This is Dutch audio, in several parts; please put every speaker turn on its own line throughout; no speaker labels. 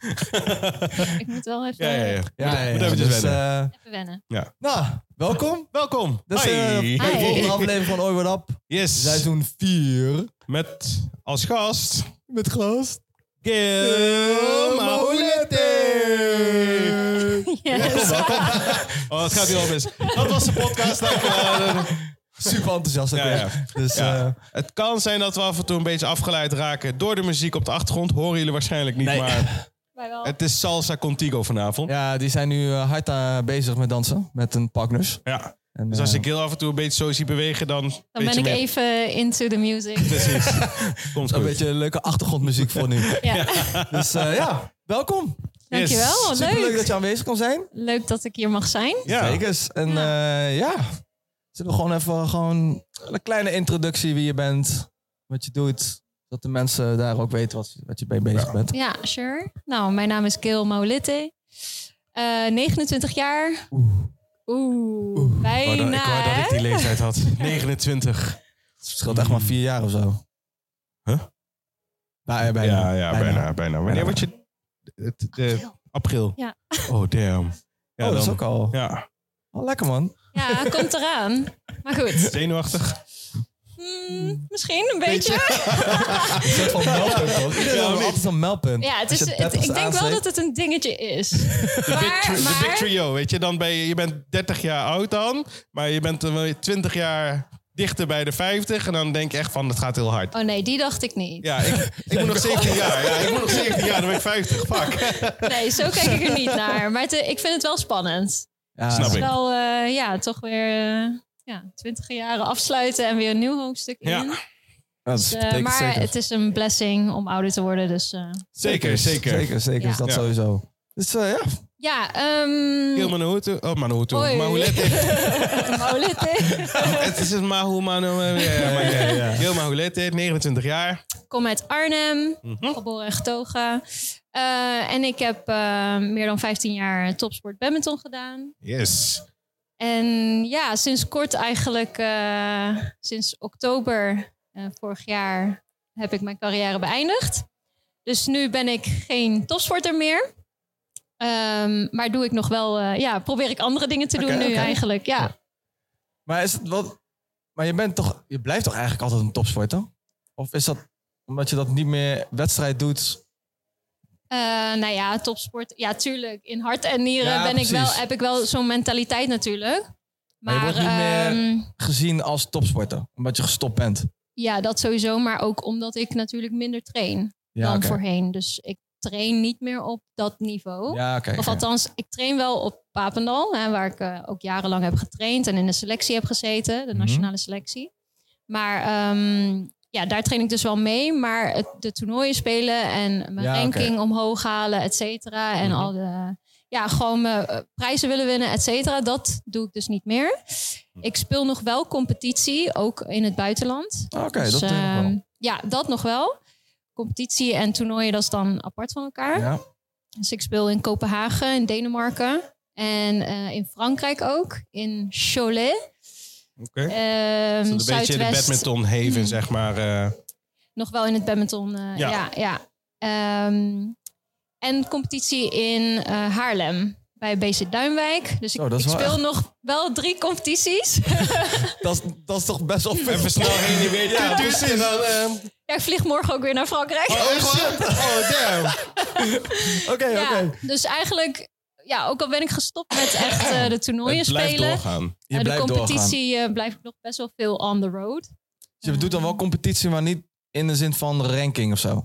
Ik moet wel even,
Ja, ja, ja.
Ja, ja, ja.
Moet eventjes
Dus,
wennen.
eh,
even wennen.
Ja.
nou, welkom.
Welkom.
Dat is eh,
Hi.
bij de
Hi.
volgende aflevering van Oi What Up.
Yes.
Seizoen 4.
Met als gast...
Met eh, glas.
Gil Mahulete.
Yes.
Oh, het gaat hier al mis. Dat was de podcast. Dank je wel.
Super enthousiast. ook
Ja,
weer.
ja.
Dus
Ja.
eh,
Het kan zijn dat we af en toe een beetje afgeleid raken door de muziek op de achtergrond. Horen jullie waarschijnlijk niet,
Nee.
maar
Wij wel.
het is Salsa Contigo vanavond. Ja.
ja, die zijn nu eh, hard eh, bezig met dansen. Met hun partners. En,
Dus als
eh,
ik heel af en toe een beetje zo zie bewegen, dan...
Dan ben ik even into the music.
Precies. Komt
Een
goed.
beetje leuke achtergrondmuziek voor nu.
Ja.
Dus eh, ja, welkom.
Dankjewel.
Yes.
Leuk.
Superleuk dat je aanwezig kon zijn.
Leuk dat ik hier mag zijn.
Ja.
Zekers. En eh, ja, zullen we gewoon even gewoon een kleine introductie wie je bent, wat je doet, dat de mensen daar ook weten wat, wat je mee bezig bent.
Ja, sure. Nou, mijn naam is Keel Maulite. Eh, 29 jaar. Oeh,
Ik
bijna.
wou dat- ik wou dat
hè?
ik die leeftijd had. 29.
Het verschilt echt maar vier jaar of zo.
Huh?
Nou, ja, bijna.
Ja, ja, bijna, bijna. Wanneer word je... Het, de- april.
Ja.
Oh, damn. Ja,
oh, dat is
dan-
ook al.
Ja,
al lekker man.
Ja, komt eraan. Maar goed,
zenuwachtig.
Hmm, misschien een beetje.
Een soort van meldpunt toch? Iedereen
Ja,
heeft
niet?
altijd een meldpunt.
Ja, het
Als
is,
je
het- ik
dertigste
denk wel dat
aansteekt.
het een dingetje is.
De big,
Maar,
tri- de big
maar
trio, weet je. Dan ben je, je bent 30 jaar oud dan, maar je bent er wel 20 jaar dichter bij de 50. En dan denk je echt van, dat gaat heel hard.
Oh nee, die dacht ik niet.
Ja, ik, ik moet nog 17 jaar. Ja, ik moet nog 17 jaar, dan ben ik 50. Fuck.
Nee, zo kijk ik er niet naar. Maar het, eh, ik vind het wel spannend.
Ja,
Snap
Het
ik.
is wel, eh, ja, toch weer eh, ja, 20 jaren afsluiten en weer een nieuw hoofdstuk in.
Ja,
Dus,
Ja, dat
eh,
betekent
maar
zeker.
het is een blessing om ouder te worden. Dus eh,
Zeker, zeker. zeker.
Zeker, zeker. is
Ja.
dat
Ja.
sowieso. Dus eh, ja,
ja, ehm
Heel Manuhutu. Oh, Manuhutu.
Hoi.
Mahulete.
Maulete.
Het is een Mahu Manu. Ja, ja, maar ja, ja. Heel Mahulete, 29 jaar.
kom uit Arnhem,
Mhm.
geboren en getogen. Eh, en ik heb eh, meer dan 15 jaar topsport badminton gedaan.
Yes.
En ja, sinds kort eigenlijk, eh, sinds oktober eh, vorig jaar, heb ik mijn carrière beëindigd. Dus nu ben ik geen topsporter meer. Ehm, maar doe ik nog wel, eh, ja, probeer ik andere dingen te doen
Oké,
nu
oké.
eigenlijk. Ja.
Maar is het wat? Maar je bent toch? Je blijft toch eigenlijk altijd een topsporter? Of is dat omdat je dat niet meer wedstrijd doet?
Eh, nou ja, topsport. Ja, tuurlijk. In hart en nieren
Ja,
ben ik wel,
precies.
heb ik wel zo'n mentaliteit natuurlijk. Maar,
Maar je wordt niet meer-
ehm,
Gezien als topsporter, omdat je gestopt bent.
ja, dat sowieso. Maar ook omdat ik natuurlijk minder train dan
oké.
voorheen. Dus ik train niet meer op dat niveau.
Ja, oké.
Of
oké.
althans, ik train wel op Papendal, hè, waar ik eh, ook jarenlang heb getraind en in de selectie heb gezeten, de
Mhm.
nationale selectie. Maar ehm, ja, daar train ik dus wel mee. Maar het, de toernooien spelen en mijn
Ja, oké.
ranking omhoog halen, et cetera. En
Mhm.
al de, ja, gewoon mijn, eh, prijzen willen winnen, et cetera. Dat doe ik dus niet meer.
Mhm.
Ik speel nog wel competitie, ook in het buitenland.
Ah, Oké,
Dus,
dat doe ik nog
ehm,
wel.
ja, dat nog wel. Competitie en toernooien, dat is dan apart van elkaar.
Ja.
Dus ik speel in Kopenhagen, in Denemarken. En eh, in Frankrijk ook, in Cholet.
Oké.
Ehm,
Dus een beetje de
Zuidwest,
badminton haven, zeg maar. eh.
nog wel in het badminton. eh,
Ja.
ja. ja, Ehm, en competitie in eh, Haarlem, bij BC Duinwijk. Dus ik,
Zo, Oh, dat is
ik
wel
speel
echt-
nog wel drie competities.
Dat, is- dat is toch best wel veel.
Even snel heen en weer. Nou, Ja, precies.
ja, ik vlieg morgen ook weer naar Frankrijk.
Oh, shit. Oh, damn.
eh, Oké,
ja,
oké.
Dus eigenlijk, ja, ook al ben ik gestopt met echt eh, de toernooien
Het blijft
spelen.
doorgaan.
Je
eh, de
blijft doorgaan.
competitie eh, blijf ik nog best wel veel on the road.
Dus je doet dan wel competitie, maar niet in de zin van ranking of zo.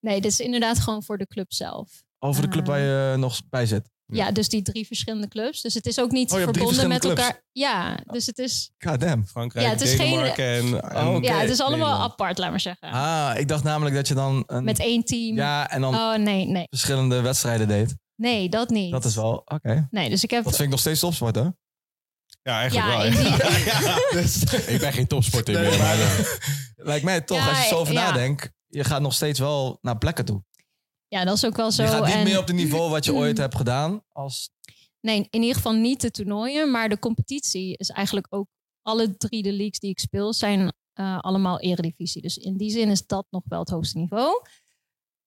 Nee, dit is inderdaad gewoon voor de club zelf.
Over de
Ah.
club waar je nog bij zit.
Ja, dus die drie verschillende clubs. Dus het is ook niet
Oh, je hebt drie
verbonden met
verschillende
elkaar. Ja, dus het is,
God damn.
Frankrijk,
Ja, het is
Denemarken en, en
Oh, oké.
ja, het is allemaal
Nederland.
apart, laat maar zeggen.
Ah, ik dacht namelijk dat je dan een,
met één team.
ja en dan
Oh nee, nee.
verschillende wedstrijden deed.
Nee, dat niet.
Dat is wel oké.
Nee, dus ik heb.
Dat vind ik nog steeds topsport, hè?
Ja, eigenlijk
ja,
wel.
in die,
Ik ben geen topsporter
Nee,
meer. Maar,
maar-
eh,
Lijkt mij toch,
Ja,
als je zo over
ja.
nadenkt, je gaat nog steeds wel naar plekken toe.
ja, dat is ook wel zo.
je gaat niet
en, Mm.
meer op het niveau wat je ooit hebt gedaan. Als,
Nee, in ieder geval niet de toernooien. Maar de competitie is eigenlijk ook. Alle drie de leagues die ik speel zijn eh, allemaal eredivisie. Dus in die zin is dat nog wel het hoogste niveau.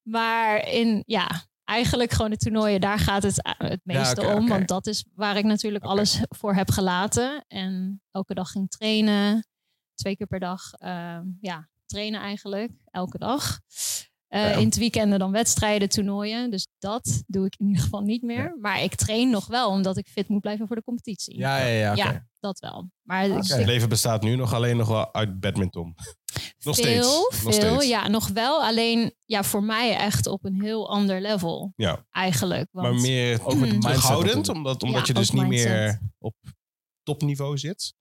Maar in, ja, eigenlijk gewoon de toernooien, daar gaat het a- het meeste
oké,
om.
oké.
Want dat is waar ik natuurlijk
Oké.
alles voor heb gelaten. En elke dag ging trainen. Twee keer per dag, ehm, ja, trainen eigenlijk. Elke dag. Eh,
Ja.
In het weekenden dan wedstrijden, toernooien. Dus dat doe ik in ieder geval niet meer. Maar ik train nog wel, omdat ik fit moet blijven voor de competitie.
Ja, ja, ja. oké.
Ja, dat wel. Maar
Oké.
dus
eh, Het
ik-
leven bestaat nu nog alleen nog wel uit badminton. Nog
veel,
steeds.
veel,
nog steeds.
ja, nog wel. Alleen, ja, voor mij echt op een heel ander level.
Ja.
Eigenlijk. Want,
Maar meer ook
mindset
terughoudend,
natuurlijk.
omdat,
Ja,
omdat je dus
ook
niet
mindset.
meer op topniveau zit.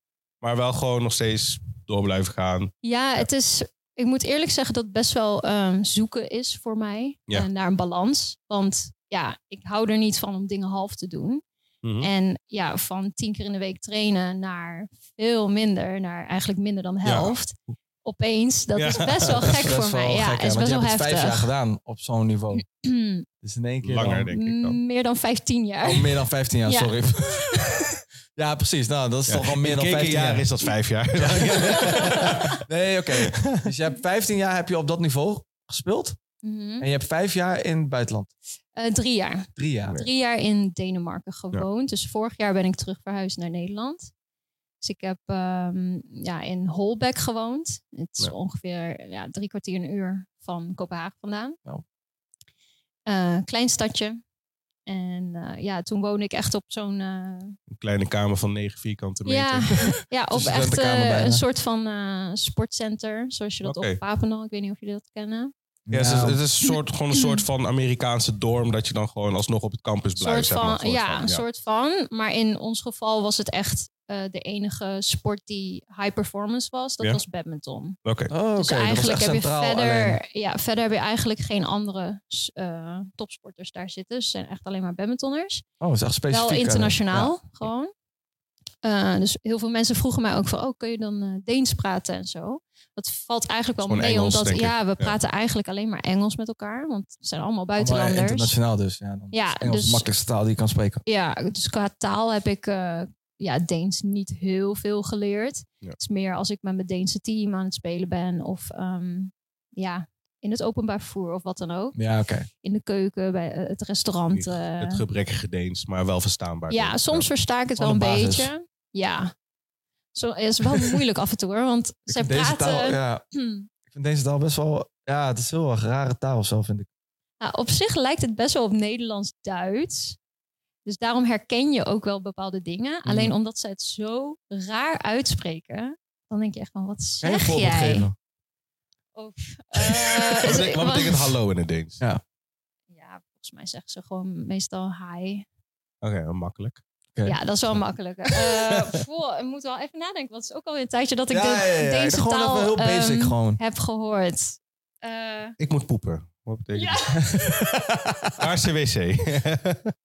Maar wel gewoon nog steeds door blijven gaan.
Ja, het is. Ik moet eerlijk zeggen dat het best wel ehm, zoeken is voor mij.
Ja.
En naar een balans. Want ja, ik hou er niet van om dingen half te doen.
Mhm.
En ja, van tien keer in de week trainen naar veel minder, naar eigenlijk minder dan de
Ja.
helft. Opeens, dat
Ja.
is best wel
Dat is
gek
best
voor mij.
wel
ja,
gek, hè,
het is
want
best
je
wel
hebt het vijf jaar
heftig. Mm.
gedaan op zo'n niveau. Dus in één keer
Langer,
dan-
denk ik dan.
Meer dan 15 jaar.
Oh, meer dan 15 jaar,
Ja.
sorry. ja, precies. Nou, dat is toch al meer
In
dan 15
kekenjaar
jaar.
is dat vijf jaar.
Nee, oké. Dus je hebt 15 jaar heb je op dat niveau gespeeld.
Mhm.
En je hebt vijf jaar in het buitenland.
Eh, drie jaar.
Drie jaar.
drie jaar in Denemarken gewoond. Dus vorig jaar ben ik terug verhuisd naar Nederland. Dus ik heb ehm, ja, in Holbeck gewoond. Het is
Ja.
ongeveer ja, drie kwartier een uur van Kopenhagen vandaan.
Nou.
Eh, klein stadje. En eh, ja, toen woonde ik echt op zo'n... eh,
Een kleine kamer van 9 vierkante meter.
ja, ja, op
Een
echt
studentenkamer
eh,
bijna.
een soort van eh, sportcenter. Zoals je dat
Oké.
op Papendal, ik weet niet of jullie dat kennen.
Ja, het is,
Nou.
het is een soort, gewoon een soort van Amerikaanse dorm dat je dan gewoon alsnog op het campus
Een soort
blijft. zeg maar,
van,
een soort
ja,
van,
een soort van. Maar in ons geval was het echt eh, de enige sport die high performance was. Dat
Ja.
was badminton.
Oké.
Oh, oké.
Dus
dat was
eigenlijk
echt
heb je
centraal alleen.
verder, ja, verder heb je eigenlijk geen andere s- eh, topsporters daar zitten. Ze zijn echt alleen maar badmintonners.
Oh, dat is echt specifiek.
Wel
alleen.
internationaal gewoon. Eh, dus heel veel mensen vroegen mij ook van, oh, kun je dan eh, Deens praten en zo? Dat valt eigenlijk wel
Gewoon
mee,
Engels,
omdat
denk ik.
ja, we
Ja.
praten eigenlijk alleen maar Engels met elkaar, want we zijn allemaal
Ja. Allemaal
buitenlanders.
internationaal dus. Ja, dan
Ja,
is Engels
dus-
de makkelijkste taal die je kan spreken.
Ja, dus qua taal heb ik eh, ja, Deens niet heel veel geleerd.
Ja.
Het is meer als ik met mijn Deense team aan het spelen ben of ehm, ja, in het openbaar vervoer of wat dan ook.
Ja, oké.
In de keuken, bij eh, het restaurant. eh.
Het gebrekkige Deens, maar wel verstaanbaar.
ja, soms versta ik het wel
Gewoon
een
de basis.
beetje. Ja. Zo, het is wel moeilijk af en toe hoor, want
Ik
zij
vind deze
praten...
taal, ja, ik vind deze taal best wel... Ja, het is heel erg rare taal of zo, vind ik.
Nou, op zich lijkt het best wel op Nederlands-Duits. Dus daarom herken je ook wel bepaalde dingen.
Mhm.
Alleen omdat ze het zo raar uitspreken, dan denk je echt van, wat
Kan je een
zeg
voorbeeld
jij?
geven?
Of, eh,
Wat
is-
betekent- wat betekent hallo in het Deens?
Ja.
Ja, volgens mij zeggen ze gewoon meestal hi.
Oké, wel makkelijk.
Oké.
Ja, dat is wel makkelijk. Eh goh, ik moet wel even nadenken, want het is ook alweer een tijdje dat ik de, deze
gewoon
taal
even heel basic
ehm,
gewoon.
heb gehoord. Eh,
Ik moet poepen. Wat betekent
ja.
dat? Aardse wc.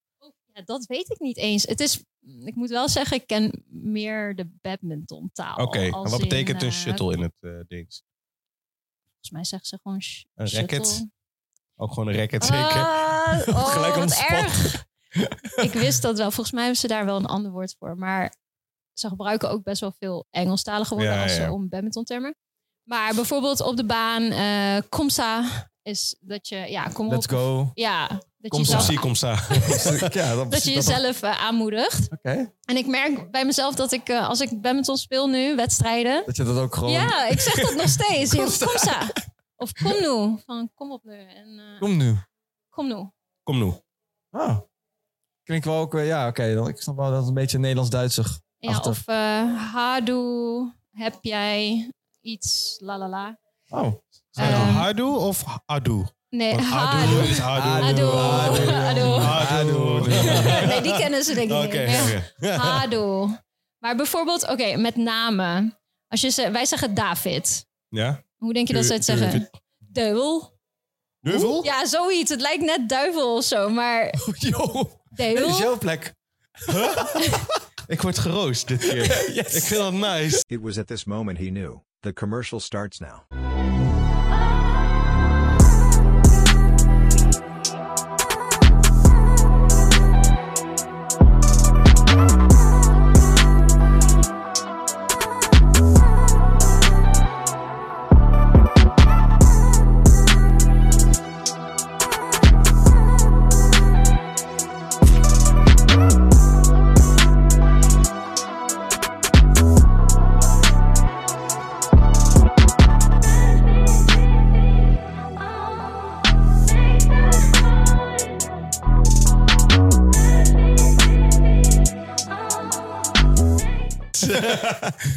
Ja, dat weet ik niet eens. Het is, mm, ik moet wel zeggen, ik ken meer de badmintontaal.
Oké, en
als
wat
in,
betekent een
eh,
shuttle in het eh Deens?
Volgens mij zeggen ze gewoon sh-
Een racket?
shuttle.
Ook gewoon een racket zeker?
Ah, oh,
Gelijk
wat
ontspannen.
erg. ik wist dat wel. Volgens mij hebben ze daar wel een ander woord voor. Maar ze gebruiken ook best wel veel Engelstalige woorden
Ja, ja,
als ze
ja.
om badmintontermen. Maar bijvoorbeeld op de baan, eh komsa is dat je, ja, kom
Let's
op.
go.
Ja, dat je
Kom zo,
jezelf,
zie, kom zo.
ja, dat,
dat je jezelf eh, aanmoedigt.
Oké.
En ik merk bij mezelf dat ik, eh, als ik badminton speel nu, wedstrijden.
Dat je dat ook gewoon...
Ja, ik zeg dat nog steeds.
Kom
Kom,
sta.
kom sa. Of kom nu. Van kom op nu. En eh, kom.
Kom nu.
nu.
Kom nu.
Ah. Klinkt wel ook... eh, Ja, oké. dan- ik snap wel dat het een beetje Nederlands-Duitsig...
Ja,
Achter.
of eh Hadu, heb jij iets, la la la.
Oh.
Zijn het
Ehm, eh,
Hadu of Adu?
Nee,
Want Adu
Hadu.
is Hadu.
Hadu.
Hadu.
Nee, die kennen ze denk ik
Oké.
niet. Maar ja,
oké.
Hadu. Maar bijvoorbeeld, oké, met namen. Als je ze, wij zeggen David.
Ja?
Hoe denk je dat ze het zeggen?
David.
Duivel?
Duivel?
Ja, zoiets. Het lijkt net duivel of zo, maar
Yo. Dit is
duivel.
jouw plek.
Ik word geroost dit keer. Ik vind dat nice.
It was at this moment he knew. The commercial starts now.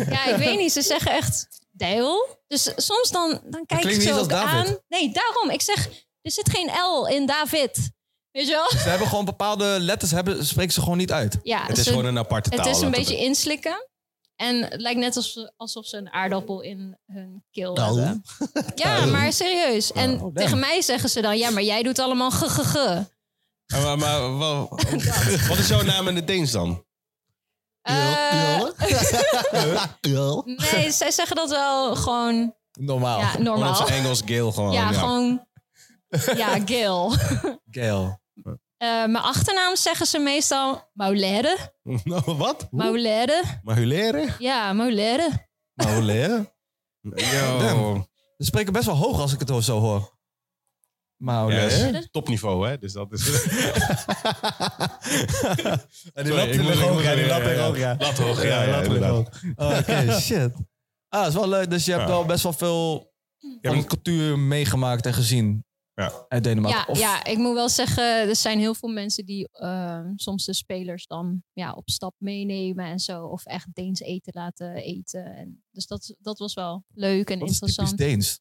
Ja, ik weet niet. Ze zeggen echt Deil. Dus soms dan, dan kijk ik
klinkt
ze ook
niet als David.
aan. Nee, daarom. Ik zeg, er zit geen L in David. Weet je wel?
Ze hebben gewoon bepaalde letters, hebben, spreken ze gewoon niet uit.
Ja,
Het is
ze-
gewoon een aparte taal.
het is een
laten we-
beetje inslikken. En het lijkt net alsof, alsof ze een aardappel in hun keel
Nou.
hebben. Ja, maar serieus. En
damn.
tegen mij zeggen ze dan... Ja, maar jij doet allemaal ge, ge, ge.
Eh, Maar, maar wa- wat is jouw naam in het Deens dan?
Eh, nee, zij zeggen dat wel gewoon
Normaal.
ja,
Gewoon op
normaal.
zijn Engels Gail gewoon.
Ja, gewoon... Ja, Gil.
Gail.
Eh, mijn achternaam zeggen ze meestal Maulere.
Nou, wat?
Maulere.
Mahulere?
Ja, Maulere.
Mahulere? Yo.
Ze spreken best wel hoog als ik het zo hoor. Maar
Ja,
ja,
hè? topniveau, hè? Dus dat is...
En
Sorry, ik moet- ik moet- ja. Lat hoog, ja, ja, inderdaad.
Oh, Oké, shit. Ah, dat is wel leuk. Dus je hebt
Ja.
wel best wel veel van
maar-
cultuur meegemaakt en gezien
Ja.
uit Denemarken.
Ja,
Of-
ja, ik moet wel zeggen, er zijn heel veel mensen die eh, soms de spelers dan ja, op stap meenemen en zo. Of echt Deens eten laten eten. En, dus dat, dat was wel leuk en
Wat is typisch
interessant.
Deens?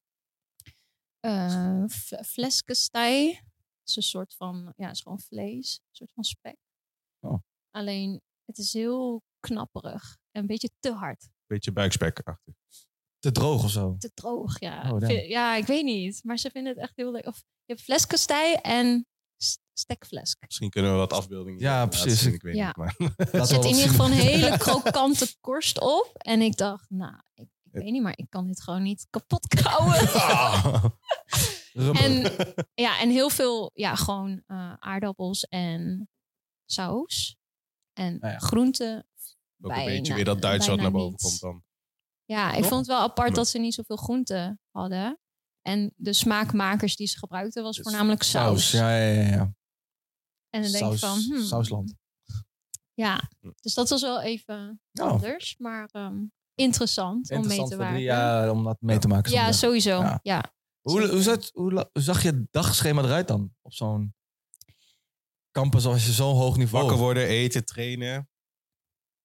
Eh, f- Fleskestei. Het is een soort van, ja, het is gewoon vlees. Een soort van spek.
Oh.
Alleen, het is heel knapperig. En een beetje te hard.
Beetje buikspek achter.
Te droog of zo.
te droog, ja.
Oh, damn.
Vi- ja, ik weet niet. Maar ze vinden het echt heel leuk. Of je hebt fleskastei en s- stekflesk.
Misschien kunnen we wat afbeeldingen
Ja,
laten
precies.
zien, Ik weet
Ja.
niet, maar...
Er
Laat wel
zit
wat
in ieder
zien.
geval een hele krokante korst op. En ik dacht, nou, ik, ik weet niet, maar ik kan dit gewoon niet kapot kauwen.
Ah.
Rummel.
en, ja, en heel veel, ja, gewoon eh, aardappels en saus. En
Nou ja.
groenten.
Ook een
Bijna-
beetje weer dat Duits wat
bijna
naar boven
niets.
komt dan.
Ja, ik
Toch?
vond het wel apart
Maar-
dat ze niet zoveel groenten hadden. En de smaakmakers die ze gebruikten was
Dus
voornamelijk saus.
Saus, ja, ja, ja. ja.
En dan denk ik
Saus-
van, hmm,
Sausland.
Ja,
Hm.
dus dat was wel even
Oh.
Nou.
anders, maar ehm, interessant, om
Interessant
mee te
voor
maken.
drie
eh,
jaar om dat mee te maken. zo'n
ja,
dag.
sowieso.
Ja.
Ja. eh,
Hoe, hoe, zat- hoe la- hoe zag je dagschema eruit dan? Op zo'n campus als je zo'n hoog niveau...
Wakker worden, eten, trainen.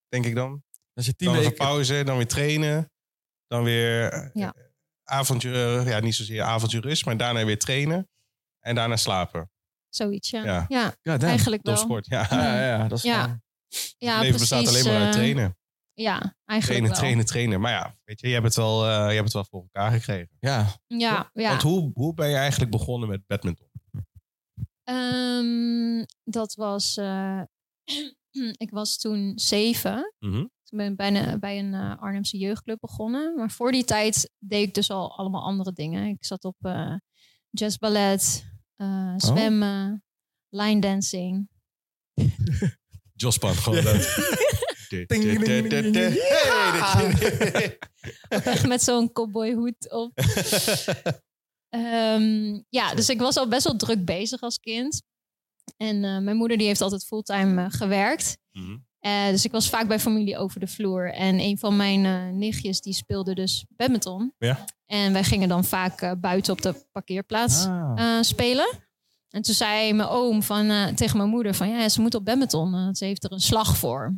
Denk ik dan.
Als je tien
Dan even
weken...
pauze, dan weer trainen. Dan weer eh,
Ja.
avondje, eh, ja, niet zozeer avondje rust, maar daarna weer trainen. En daarna slapen.
Zoiets, ja.
Ja.
Ja,
Ja, damn.
eigenlijk wel.
Topsport, ja.
Ja, ja, ja, dat is
Ja.
gewoon-
Ja,
Het leven bestaat alleen maar uit
eh,
trainen.
Ja, eigenlijk
Trainen,
wel.
trainen, trainen. Maar ja, weet je, je hebt het wel, eh, je hebt het wel voor elkaar gekregen.
Ja,
Ja, ja.
Want hoe, hoe ben je eigenlijk begonnen met badminton?
Ehm, dat was, eh, ik was toen zeven.
Mhm.
Toen ben ik bijna bij een eh, Arnhemse jeugdclub begonnen. Maar voor die tijd deed ik dus al allemaal andere dingen. Ik zat op eh jazzballet, eh, zwemmen, line dancing.
Jospan, gewoon dat. Ding, ding, ding, ding, ding. Hey, dit-
Echt met zo'n cowboyhoed op. Ehm, ja, dus ik was al best wel druk bezig als kind. En eh, mijn moeder die heeft altijd fulltime eh, gewerkt.
Mhm.
Eh, dus ik was vaak bij familie over de vloer. En een van mijn eh, nichtjes die speelde dus badminton.
Ja.
En wij gingen dan vaak eh, buiten op de parkeerplaats
Ah.
eh, spelen. En toen zei mijn oom van, eh, tegen mijn moeder van... ja, ze moet op badminton, eh, want ze heeft er een slag voor.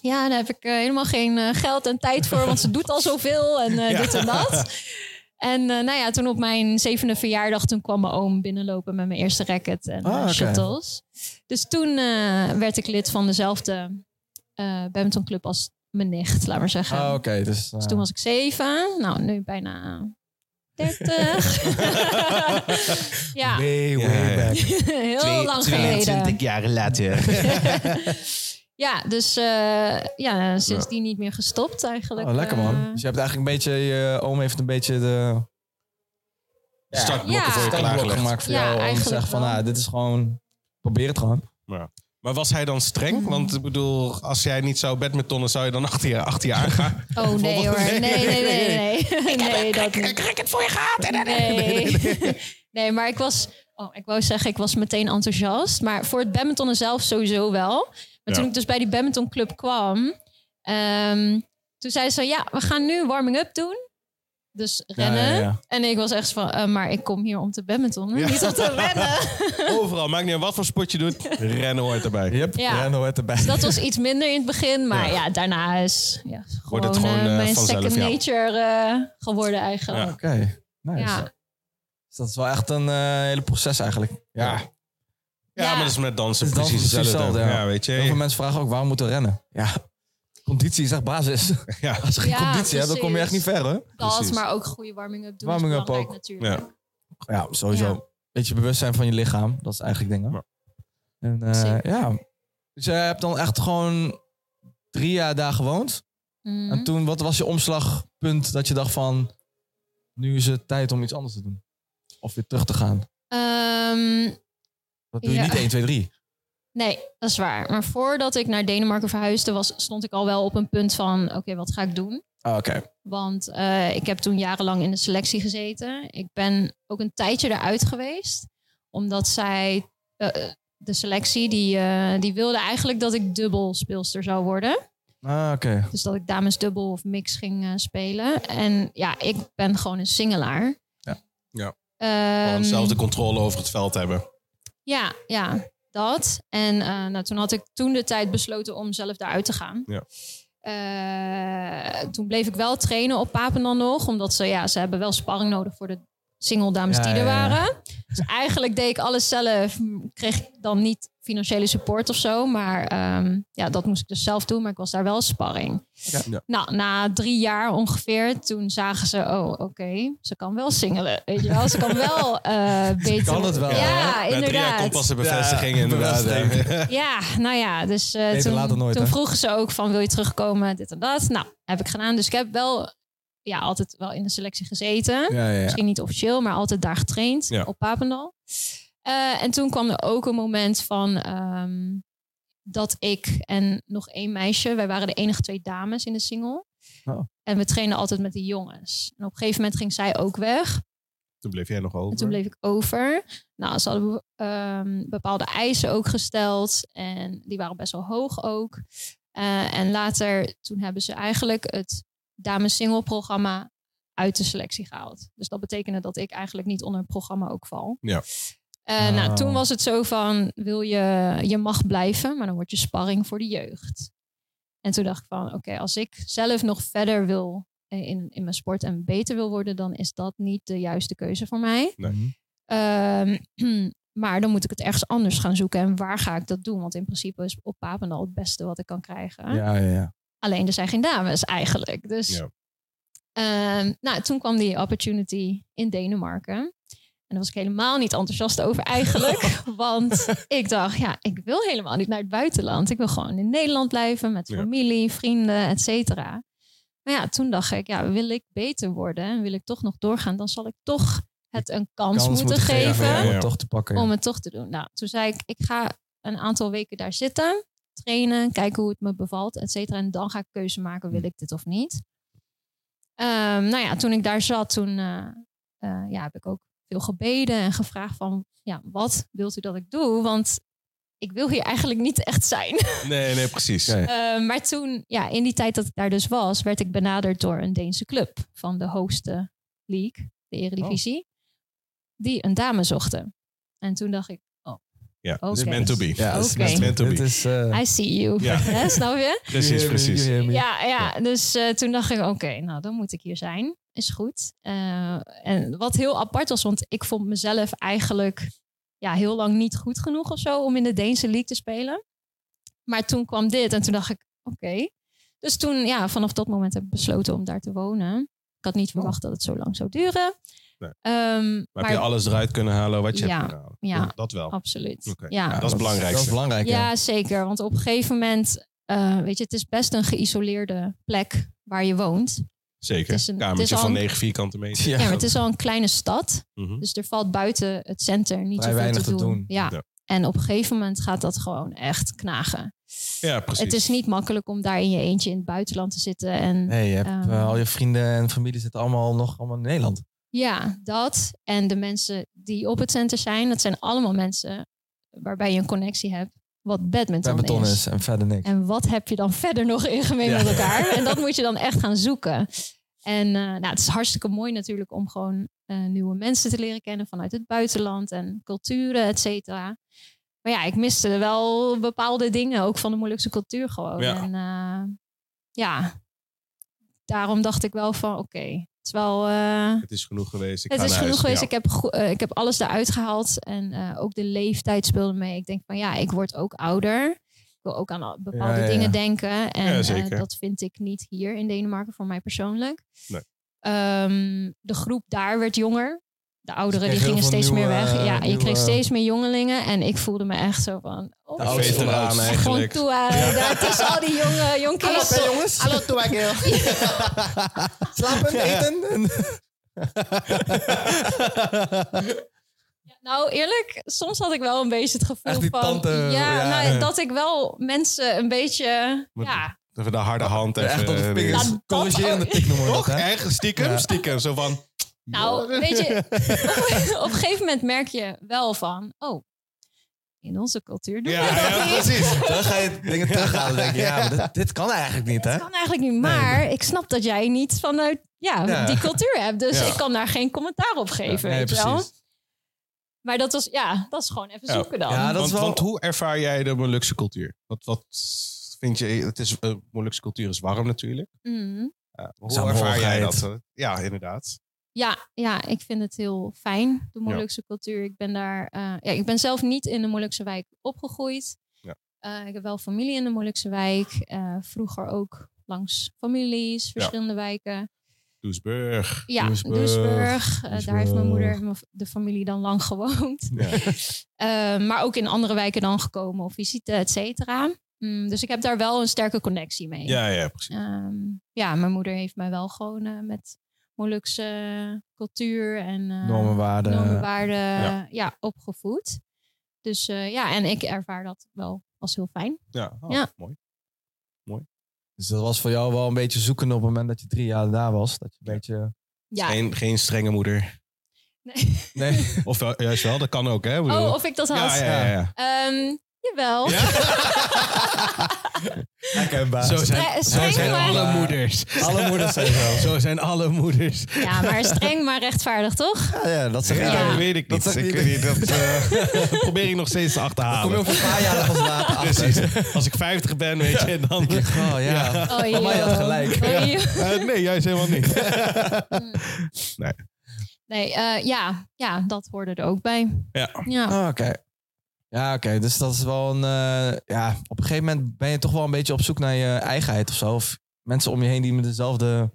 Ja, daar heb ik eh, helemaal geen eh, geld en tijd voor... want ze doet al zoveel en eh,
Ja.
dit en dat. En eh, nou ja, toen op mijn zevende verjaardag... toen kwam mijn oom binnenlopen met mijn eerste racket en
Ah,
eh,
oké.
shuttles. Dus toen eh, werd ik lid van dezelfde eh badmintonclub als mijn nicht, laat maar zeggen.
Ah, oké. dus, eh,
Dus toen was ik zeven. Nou, nu bijna dertig. ja,
Way,
Ja,
way
ja.
back.
heel lang geleden.
jaar later.
ja, dus eh, ja, sindsdien niet meer gestopt eigenlijk.
Oh, lekker man.
Eh,
Dus je hebt eigenlijk een beetje... Je oom heeft een beetje de...
Startblokken
Ja.
voor je
startblok
klaargelegd.
gemaakt voor
Ja,
jou. Om te
eigenlijk
zeggen van,
wel.
ah, dit is gewoon... Probeer het gewoon.
Maar was hij dan streng? Want ik bedoel, als jij niet zou badmintonnen, zou je dan achter je, achter je aangaan?
Oh nee hoor. Nee, nee, nee, nee. Nee, nee. dat niet.
het voor je gehad.
Nee. nee, maar ik was... Oh, ik wou zeggen, ik was meteen enthousiast. Maar voor het badmintonnen zelf sowieso wel. Maar
Ja.
toen ik dus bij die badmintonclub kwam... ehm, toen zei ze, ja, we gaan nu warming-up doen. Dus rennen.
ja, ja.
En ik was echt zo van, eh, maar ik kom hier om te badmintonnen,
Ja.
niet om te rennen.
Overal, maakt niet uit wat voor sport je doet, rennen hoort erbij.
Yep,
Ja.
Renault werd erbij.
Dus Dat was iets minder in het begin, maar ja, daarna is ja, gewoon,
Wordt het gewoon,
eh,
eh,
mijn
vanzelf,
second
ja.
nature eh, geworden eigenlijk.
Ja.
Oké, nice.
Ja.
Dus dat is wel echt een eh, hele proces eigenlijk.
Ja.
Heel
Ja,
Ja.
maar dat is met dansen
Het is
precies
dansen precies
hetzelfde.
hetzelfde,
Ja.
ja.
weet je.
veel mensen vragen ook waarom moeten we rennen. Ja, conditie is echt basis.
Ja.
Als je geen
Ja,
conditie hebt, dan kom je echt niet
precies.
ver, hè?
Dat,
precies.
maar ook goede warming-up doen
Warming-up
is belangrijk
ook.
natuurlijk.
Ja.
Ja, sowieso.
Ja.
Beetje bewust zijn van je lichaam. Dat is eigenlijk dingen.
Ja.
En eh,
Zeker.
ja. Dus jij hebt dan echt gewoon drie jaar daar gewoond.
Mhm.
En toen, wat was je omslagpunt dat je dacht van... Nu is het tijd om iets anders te doen. Of weer terug te gaan.
Ehm,
Dat doe je
Ja.
niet 1, 2, 3.
nee, dat is waar. Maar voordat ik naar Denemarken verhuisde, was, stond ik al wel op een punt van, oké, wat ga ik doen?
Ah, Oké.
Want eh, ik heb toen jarenlang in de selectie gezeten. Ik ben ook een tijdje eruit geweest. Omdat zij, eh, eh, de selectie, die, eh, die wilde eigenlijk dat ik dubbel speelster zou worden.
Ah, oké.
Dus dat ik dames dubbel of mix ging eh, spelen. En ja, ik ben gewoon een singelaar.
Ja.
Ja.
Ehm,
Gewoon zelf de controle over het veld hebben.
ja, ja, dat. En eh, nou, toen had ik toen de tijd besloten om zelf daaruit te gaan.
Ja.
Eh, toen bleef ik wel trainen op Papendal nog, omdat ze, ja, ze hebben wel sparring nodig voor de single dames
Ja,
die er
ja, ja.
waren. Dus eigenlijk deed ik alles zelf. M, Kreeg ik dan niet financiële support of zo, maar ehm, ja, dat moest ik dus zelf doen. Maar ik was daar wel sparring.
Ja. Ja.
Nou, na drie jaar ongeveer, toen zagen ze, oh, oké, ze kan wel singelen, weet je wel? Ze kan wel eh beter.
kan het wel,
Ja,
Na drie jaar komt
inderdaad.
pas de bevestiging
Ja,
inderdaad. ja.
Ja, nou ja, dus eh,
Beter
toen,
laat dan nooit,
toen
hè?
vroegen ze ook van wil je terugkomen, dit en dat. Nou, heb ik gedaan. Dus ik heb wel ja, altijd wel in de selectie gezeten.
Ja, ja, ja.
Misschien niet officieel, maar altijd daar getraind
Ja.
op Papendal. Eh, en toen kwam er ook een moment van ehm, dat ik en nog één meisje, wij waren de enige twee dames in de single.
Oh.
En we trainden altijd met de jongens. En op een gegeven moment ging zij ook weg.
Toen bleef jij nog over.
En toen bleef ik over. Nou, ze hadden be- ehm, bepaalde eisen ook gesteld. En die waren best wel hoog ook. Eh, en later, toen hebben ze eigenlijk het dames single programma uit de selectie gehaald. Dus dat betekende dat ik eigenlijk niet onder het programma ook val.
Ja.
Eh,
Oh.
Nou, toen was het zo van, wil je, je mag blijven, maar dan word je sparring voor de jeugd. En toen dacht ik van, oké, als ik zelf nog verder wil eh, in, in mijn sport en beter wil worden, dan is dat niet de juiste keuze voor mij.
Nee.
Ehm, maar dan moet ik het ergens anders gaan zoeken. En waar ga ik dat doen? Want in principe is op Papendal het beste wat ik kan krijgen.
Ja, ja, ja.
Alleen er zijn geen dames eigenlijk. Dus
Ja.
ehm, nou, toen kwam die opportunity in Denemarken. En daar was ik helemaal niet enthousiast over eigenlijk. want ik dacht, ja, ik wil helemaal niet naar het buitenland. Ik wil gewoon in Nederland blijven met
Ja.
familie, vrienden, et cetera. Maar ja, toen dacht ik, ja, wil ik beter worden en wil ik toch nog doorgaan, dan zal ik toch het een kans, moeten, geven
om
Ja.
het toch te pakken.
om het toch te doen. Nou, toen zei ik, ik ga een aantal weken daar zitten, trainen, kijken hoe het me bevalt, et cetera. En dan ga ik keuze maken, wil ik dit of niet. Ehm, nou ja, toen ik daar zat, toen eh, eh, ja, heb ik ook veel gebeden en gevraagd van, ja, wat wilt u dat ik doe? Want ik wil hier eigenlijk niet echt zijn.
Nee, nee, precies.
Oké.
Eh, maar toen, ja, in die tijd dat ik daar dus was, werd ik benaderd door een Deense club van de hoogste league, de Eredivisie, die een dame zochten. En toen dacht ik,
Ja, dat is
Oké.
meant to be.
Ja, het is
Oké.
meant to be.
Dit
Het is, eh,
I see you.
Ja.
Hè, snap je?
Precies, precies.
Ja, ja. dus eh, toen dacht ik, oké, nou dan moet ik hier zijn. Is goed. Eh, en wat heel apart was, want ik vond mezelf eigenlijk ja, heel lang niet goed genoeg of zo om in de Deense league te spelen. Maar toen kwam dit en toen dacht ik, oké. Dus toen, ja, vanaf dat moment heb ik besloten om daar te wonen. Ik had niet verwacht dat het zo lang zou duren.
Oh. Nee.
Ehm,
Maar heb je alles eruit kunnen halen wat je
Ja,
hebt kunnen halen?
ja.
Dat- Dat wel.
absoluut.
Oké.
Ja.
dat is belangrijk.
Dat is belangrijk.
Ja, zeker. Want op een gegeven moment, eh, weet je, het is best een geïsoleerde plek waar je woont.
Zeker.
Het is een- het
Kamertje
is al
van
een-
9 vierkante meter.
Ja, maar het is al een kleine stad.
Mhm.
Dus er valt buiten het centrum niet
Vrij
zoveel
weinig
te
te
doen.
doen.
Ja.
Ja.
En op een gegeven moment gaat dat gewoon echt knagen.
Ja, precies.
Het is niet makkelijk om daar in je eentje in het buitenland te zitten. En
Nee, je hebt,
Ehm.
eh, al je vrienden en familie zitten allemaal nog allemaal in Nederland.
ja, dat. En de mensen die op het centrum zijn, dat zijn allemaal mensen waarbij je een connectie hebt. Wat badminton,
Badminton
is.
is en verder niks.
En wat heb je dan verder nog in gemeen
Ja.
met elkaar? En dat moet je dan echt gaan zoeken. En eh, nou, het is hartstikke mooi natuurlijk om gewoon eh, nieuwe mensen te leren kennen vanuit het buitenland en culturen, et cetera. Maar ja, ik miste wel bepaalde dingen, ook van de moeilijkste cultuur gewoon.
Ja.
En eh, ja, daarom dacht ik wel van oké, het is wel... eh,
Het is genoeg geweest. Ik
het
ga
is
naar
genoeg
huis.
geweest. Ik, heb go- eh, ik heb alles eruit gehaald. En eh, ook de leeftijd speelde mee. Ik denk van ja, ik word ook ouder. Ik wil ook aan al- bepaalde
Ja, ja,
dingen
ja.
denken. En
Ja,
eh,
zeker.
dat vind ik niet hier in Denemarken voor mij persoonlijk.
Nee.
Ehm, de groep daar werd jonger. De ouderen
kreeg
die gingen
heel veel
steeds meer
nieuwe,
weg. Ja, je
nieuwe-
kreeg steeds meer jongelingen. En ik voelde me echt zo van... Oh,
De
Ja.
oudste van de
Veteraan
oudste.
gewoon
eigenlijk.
toe eh, daar tussen al die jonge jonkies.
jongens.
Hallo, Toegel.
Slapen, eten. en-
Nou, eerlijk, soms had ik wel een beetje het gevoel
Echt die
van...
tante,
ja,
ja,
nou,
ja.
dat ik wel mensen een beetje...
Moet-
ja,
Even de harde hand. Even,
Echt op de
Nou,
vingers.
dat
Corrigerende tik noemen we dat,
eh, Toch?
hè?
Echt? Stiekem?
Ja.
Stiekem. Zo van...
nou, weet je... op, op een gegeven moment merk je wel van... Oh, in onze cultuur doen
Ja,
we dat
ja,
niet.
precies.
Dan ga je dingen terughalen. denk je, ja, maar dit, dit kan eigenlijk niet, hè?
Dat kan eigenlijk niet. Maar ik snap dat jij niet vanuit ja,
Ja.
die cultuur hebt. Dus
Ja.
ik kan daar geen commentaar op geven,
nee,
weet je wel.
precies.
Maar dat was, ja, dat is gewoon even
Ja.
zoeken dan.
Ja, dat
want,
is wel-
want hoe ervaar jij de Molukse cultuur? Wat, wat vind je... Het is, eh, Molukse cultuur is warm natuurlijk.
Mm.
Ja, maar hoe ervaar
Saamhorigheid.
jij dat? eh? Ja, inderdaad.
Ja, ja, ik vind het heel fijn, de moeilijkste cultuur. Ik ben daar, eh, ja, ik ben zelf niet in de moeilijkste wijk opgegroeid.
Ja.
Eh, ik heb wel familie in de moeilijkste wijk. Eh, vroeger ook langs families, verschillende wijken.
Doesburg.
Ja,
Doesburg,
Duisburg. Eh, daar heeft mijn moeder, en mijn v- de familie dan lang gewoond.
Ja.
Eh, maar ook in andere wijken dan gekomen of visite, et cetera. Mm, dus ik heb daar wel een sterke connectie mee.
Ja, ja, precies.
Ehm, ja, mijn moeder heeft mij wel gewoon eh, met Molukse cultuur en eh,
Normen, waarden.
normen, waarden,
Ja.
ja. opgevoed. Dus eh, ja, en ik ervaar dat wel als heel fijn.
Ja, oh,
Ja.
mooi.
Dus dat was voor jou wel een beetje zoeken op het moment dat je drie jaar daar was. Dat je een beetje...
Ja.
Geen, geen strenge moeder.
Nee.
Of wel, juist wel, dat kan ook, hè? Ik bedoel-
Oh, of ik dat had.
ja, ja, ja. ja.
Ehm, jawel.
Herkenbaar.
Zo
Stre-
zijn, zo
streng,
zijn
maar-
alle moeders.
Alle moeders zijn zo.
Zo zijn alle moeders.
Ja, maar streng, maar rechtvaardig, toch?
Ja, ja, dat zeg ik.
Ja.
dat weet ik
Dat
niet.
zeg
ik
ik
weet niet. Dat eh, probeer ik nog steeds te
Kom je
achterhalen.
over een paar jaar pas later achter.
Precies. Als ik 50 ben, weet je, dan...
Oh ja.
Oh,
Mama, je
joh.
had gelijk.
Oh, joh.
Eh, nee, juist helemaal niet.
Nee, eh, ja. ja, dat hoorde er ook bij.
Ja.
Ja.
Oh, oké. Ja, oké. Dus dat is wel een... eh, ja, op een gegeven moment ben je toch wel een beetje op zoek naar je eigenheid of zo. Of mensen om je heen die met dezelfde...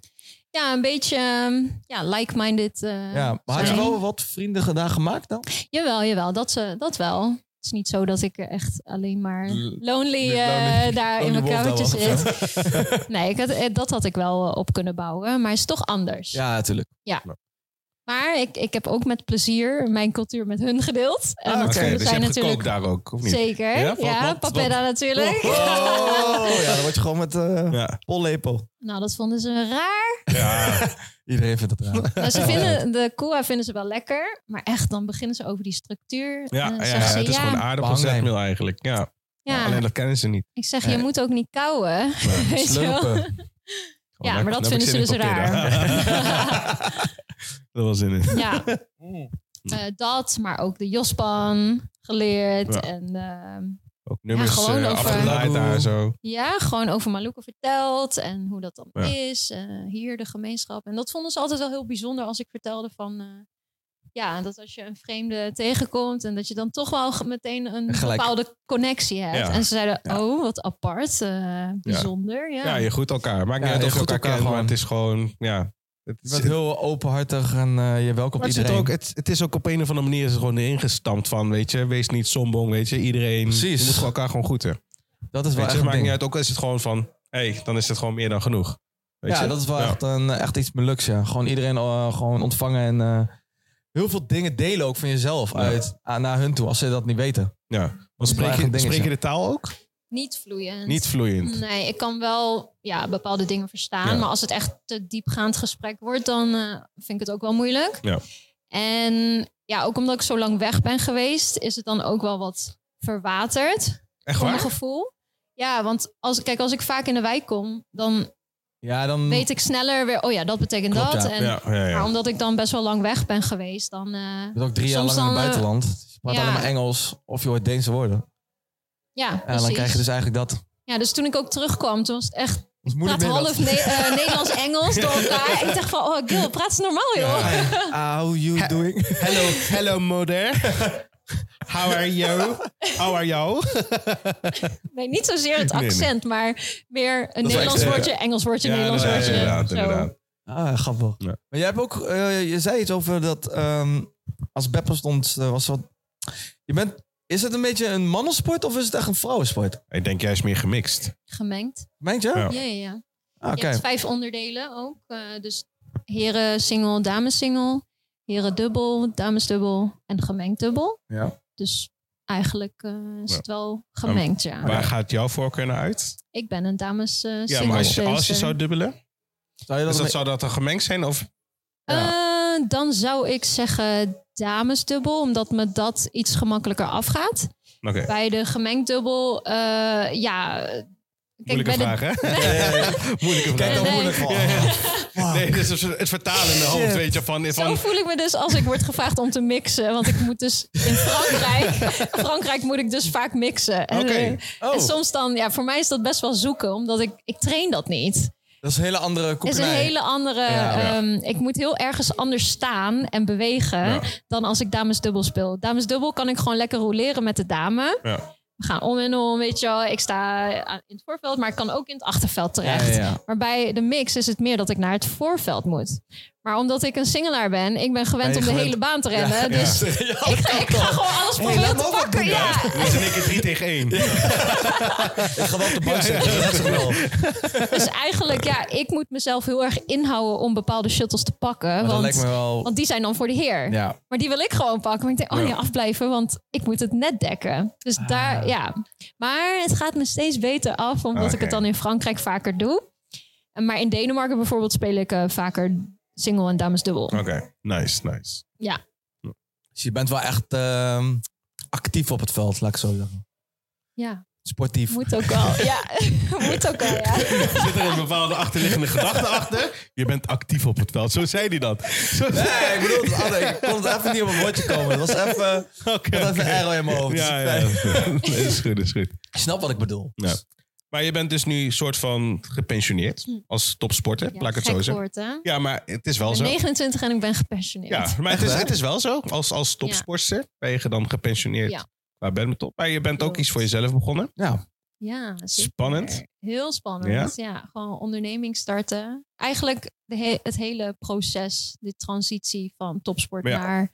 Ja, een beetje ehm, ja, like-minded. eh,
ja, maar had je
zijn.
wel wat vrienden daar gemaakt dan?
Jawel, jawel, dat, ze, dat wel. Het is niet zo dat ik eh, echt alleen maar
L-
lonely eh,
lonely-
daar in mijn
lonely wolf
kamertje
daar was
zit. nee, ik had, eh, dat had ik wel eh, op kunnen bouwen, maar het is toch anders.
Ja, natuurlijk.
Maar ik, ik heb ook met plezier mijn cultuur met hun gedeeld. En
Ah,
dat
oké,
zijn
dus je hebt gekookt
natuurlijk
daar ook, of niet?
zeker.
Ja,
Ja,
wat- wat-
papeda natuurlijk.
Oh, ja, dan word je gewoon met eh
Ja.
pollepel.
Nou, dat vonden ze raar.
ja.
Iedereen vindt dat raar.
Nou, ze vinden, de koa vinden ze wel lekker, maar echt, dan beginnen ze over die structuur.
Ja,
En dan
ja,
zeggen ze,
het is
ja,
gewoon aardappelzetmeel eigenlijk. Ja.
ja.
Alleen dat kennen ze niet.
Ik zeg, je moet ook niet kauwen. Weet je wel?
Slopen.
Ja,
Dan
maar
heb
dat
ik
vinden ze
zin in
dus raar.
papilla. dat was zin in.
ja. Eh, dat, maar ook de Jospan geleerd.
Ja.
En ehm,
Ook nummers
gewoon
eh,
over-
afgeleid daar en zo.
ja, gewoon over Maluka verteld en hoe dat dan
Ja.
is. eh, hier de gemeenschap. En dat vonden ze altijd wel heel bijzonder als ik vertelde van... eh, ja, dat als je een vreemde tegenkomt en dat je dan toch wel ge- meteen een
Gelijk.
bepaalde connectie hebt.
Ja.
En ze zeiden, oh, wat apart, eh, bijzonder. Ja.
Ja, je groet elkaar. Maakt niet
Ja,
uit
je
of je
groet
elkaar
elkaar
kent, maar het
gewoon.
is gewoon... Ja, het,
Je bent heel openhartig en eh, je welkomt
Maar het, zit
iedereen.
ook, het, het is ook op een of andere manier is het gewoon ingestampt van, weet je, wees niet sombong, weet je. Iedereen
Precies.
je moet elkaar gewoon groeten.
dat is wel
Weet
echt
je,
een
maakt
ding.
niet uit, ook al is het gewoon van, hé, hey, dan is het gewoon meer dan genoeg. Weet
ja,
je?
dat is wel
Ja.
echt, een, echt iets meluks, ja. Gewoon iedereen eh, gewoon ontvangen en eh, heel veel dingen delen ook van jezelf uit aan- naar hun toe, als ze dat niet weten.
Ja. Want
wel
spreek
echt
je,
een dingetje.
spreek je de taal ook?
Niet vloeiend.
Niet vloeiend.
Nee, ik kan wel ja, bepaalde dingen verstaan.
Ja.
Maar als het echt te diepgaand gesprek wordt, dan eh, vind ik het ook wel moeilijk.
Ja.
En ja, ook omdat ik zo lang weg ben geweest, is het dan ook wel wat verwaterd
Echt
voor mijn
waar?
gevoel. Ja, want als, kijk, als ik vaak in de wijk kom, dan
Ja, dan...
weet ik sneller weer, oh ja, dat betekent
Klopt,
dat.
ja.
Mm. Ja,
En,
ja, ja.
Maar omdat ik dan best wel lang weg ben geweest, dan... eh,
Je bent ook drie jaar
Soms
lang in het
dan, eh,
buitenland. Dus je praat
ja.
alleen maar Engels of je hoort Deense woorden.
ja,
En
precies.
dan krijg je dus eigenlijk dat.
Ja, dus toen ik ook terugkwam, toen was het echt...
Dat is
Ik
moeilijk
praat half Ne- eh, Nederlands-Engels door elkaar. Ik dacht van, oh Gil, praat eens normaal joh.
How you doing?
Hello, hello mother. How are you? How are you?
Nee, niet zozeer het
Nee, nee.
accent, maar meer een
is wel
Nederlands
echt, eh,
woordje, Engels woordje,
Ja,
Nederlands
inderdaad,
woordje.
inderdaad,
zo.
inderdaad.
Ah, grappig.
Ja.
Maar jij hebt ook, eh, je zei iets over dat ehm, als Beppo stond, eh, was wat. Je bent, is het een beetje een mannensport of is het echt een vrouwensport?
Ik denk juist meer gemixt.
Gemengd.
Meent je?
Ja.
Ja, ja, ja.
Ah, Oké.
Je hebt vijf onderdelen ook. eh, dus heren single, dames single, heren dubbel, dames dubbel en gemengd dubbel.
Ja.
Dus eigenlijk eh, is
Ja.
het wel gemengd, ja.
Waar gaat jouw voorkeur naar uit?
Ik ben een dames eh
Ja,
single
maar als je, als je
dancer.
zou dubbelen,
Zou je dat
dus
een
dat, zou dat dan gemengd zijn? Of,
Eh, dan zou ik zeggen damesdubbel, omdat me dat iets gemakkelijker afgaat.
oké,
Bij de gemengd dubbel, eh, ja... eh, Kijk,
moeilijke
bij de
vraag, hè? Moeilijke
beetje-
vraag.
Kijk dan
Nee.
moeilijk van.
Ja, ja.
Wow.
Nee, dit is het vertalen in de hoofd,
Shit.
weet je, van...
Zo
van
voel ik me dus als ik word gevraagd om te mixen. Want ik moet dus in Frankrijk... Frankrijk moet ik dus vaak mixen. En,
Oké.
eh, en
Oh,
soms dan... Ja, voor mij is dat best wel zoeken. Omdat ik... Ik train dat niet.
dat is een hele andere
Het is
koekenij.
een hele andere...
Ja.
Ja.
ehm, ik moet heel ergens anders staan en bewegen...
Ja.
dan als ik damesdubbel speel. Damesdubbel kan ik gewoon lekker roleren met de dame.
ja.
We gaan om en om, weet je wel. Ik sta aan- in het voorveld, maar ik kan ook in het achterveld terecht.
Ja, ja, ja.
Maar bij de mix is het meer dat ik naar het voorveld moet. Maar omdat ik een singelaar ben, ik ben gewend
Ben
om
je
de
gewend-
hele baan te rennen. Dus
Ja,
ik, ga, ik ga gewoon alles proberen
laat me
te
ook wat
pakken.
doen.
Ja.
Dus in één keer drie tegen één.
ik ga wel op de bank zitten. dat is het wel.
Dus eigenlijk, ja, ik moet mezelf heel erg inhouden om bepaalde shuttles te pakken.
Maar Oh, dat
Want,
lijkt me wel.
want die zijn dan voor de heer.
Ja.
Maar die wil ik gewoon pakken. Maar ik denk, oh nee, afblijven, want ik moet het net dekken. Dus
Ah.
daar, ja. Maar het gaat me steeds beter af, omdat ik
Oké.
het dan in Frankrijk vaker doe. En Maar in Denemarken bijvoorbeeld speel ik eh, vaker single en damesdubbel.
Oké, nice, nice.
Ja.
Dus je bent wel echt ehm, actief op het veld, laat ik zo zeggen.
ja,
Sportief.
moet ook wel. ja, moet ook wel, ja.
Zit er een bepaalde achterliggende gedachte achter? Je bent actief op het veld. Zo zei hij dat. Zo zei
Nee, ik bedoel, het andere. ik kon het even niet op mijn woordje komen. Het was even, ik
Oké,
had even
oké.
een arrow in mijn hoofd.
Ja, ja.
Nee.
Nee, is goed, is goed.
Ik snap wat ik bedoel.
Ja. Maar je bent dus nu soort van gepensioneerd als topsporter, laat ik het zo
Hm. gek
zeggen.
woord, hè? Ik
Ja, maar het is wel
ben
zo.
29 en ik ben gepassioneerd.
Ja, maar het
Echt
is,
waar?
het is wel zo. Als, als topsportster ben je dan gepensioneerd
Ja.
qua badminton. Maar je bent ook
Klopt.
iets voor jezelf begonnen.
Ja.
Ja, zeker.
Spannend.
Heel spannend. Ja, gewoon onderneming starten. Eigenlijk de he- het hele proces, de transitie van topsport
Ja.
naar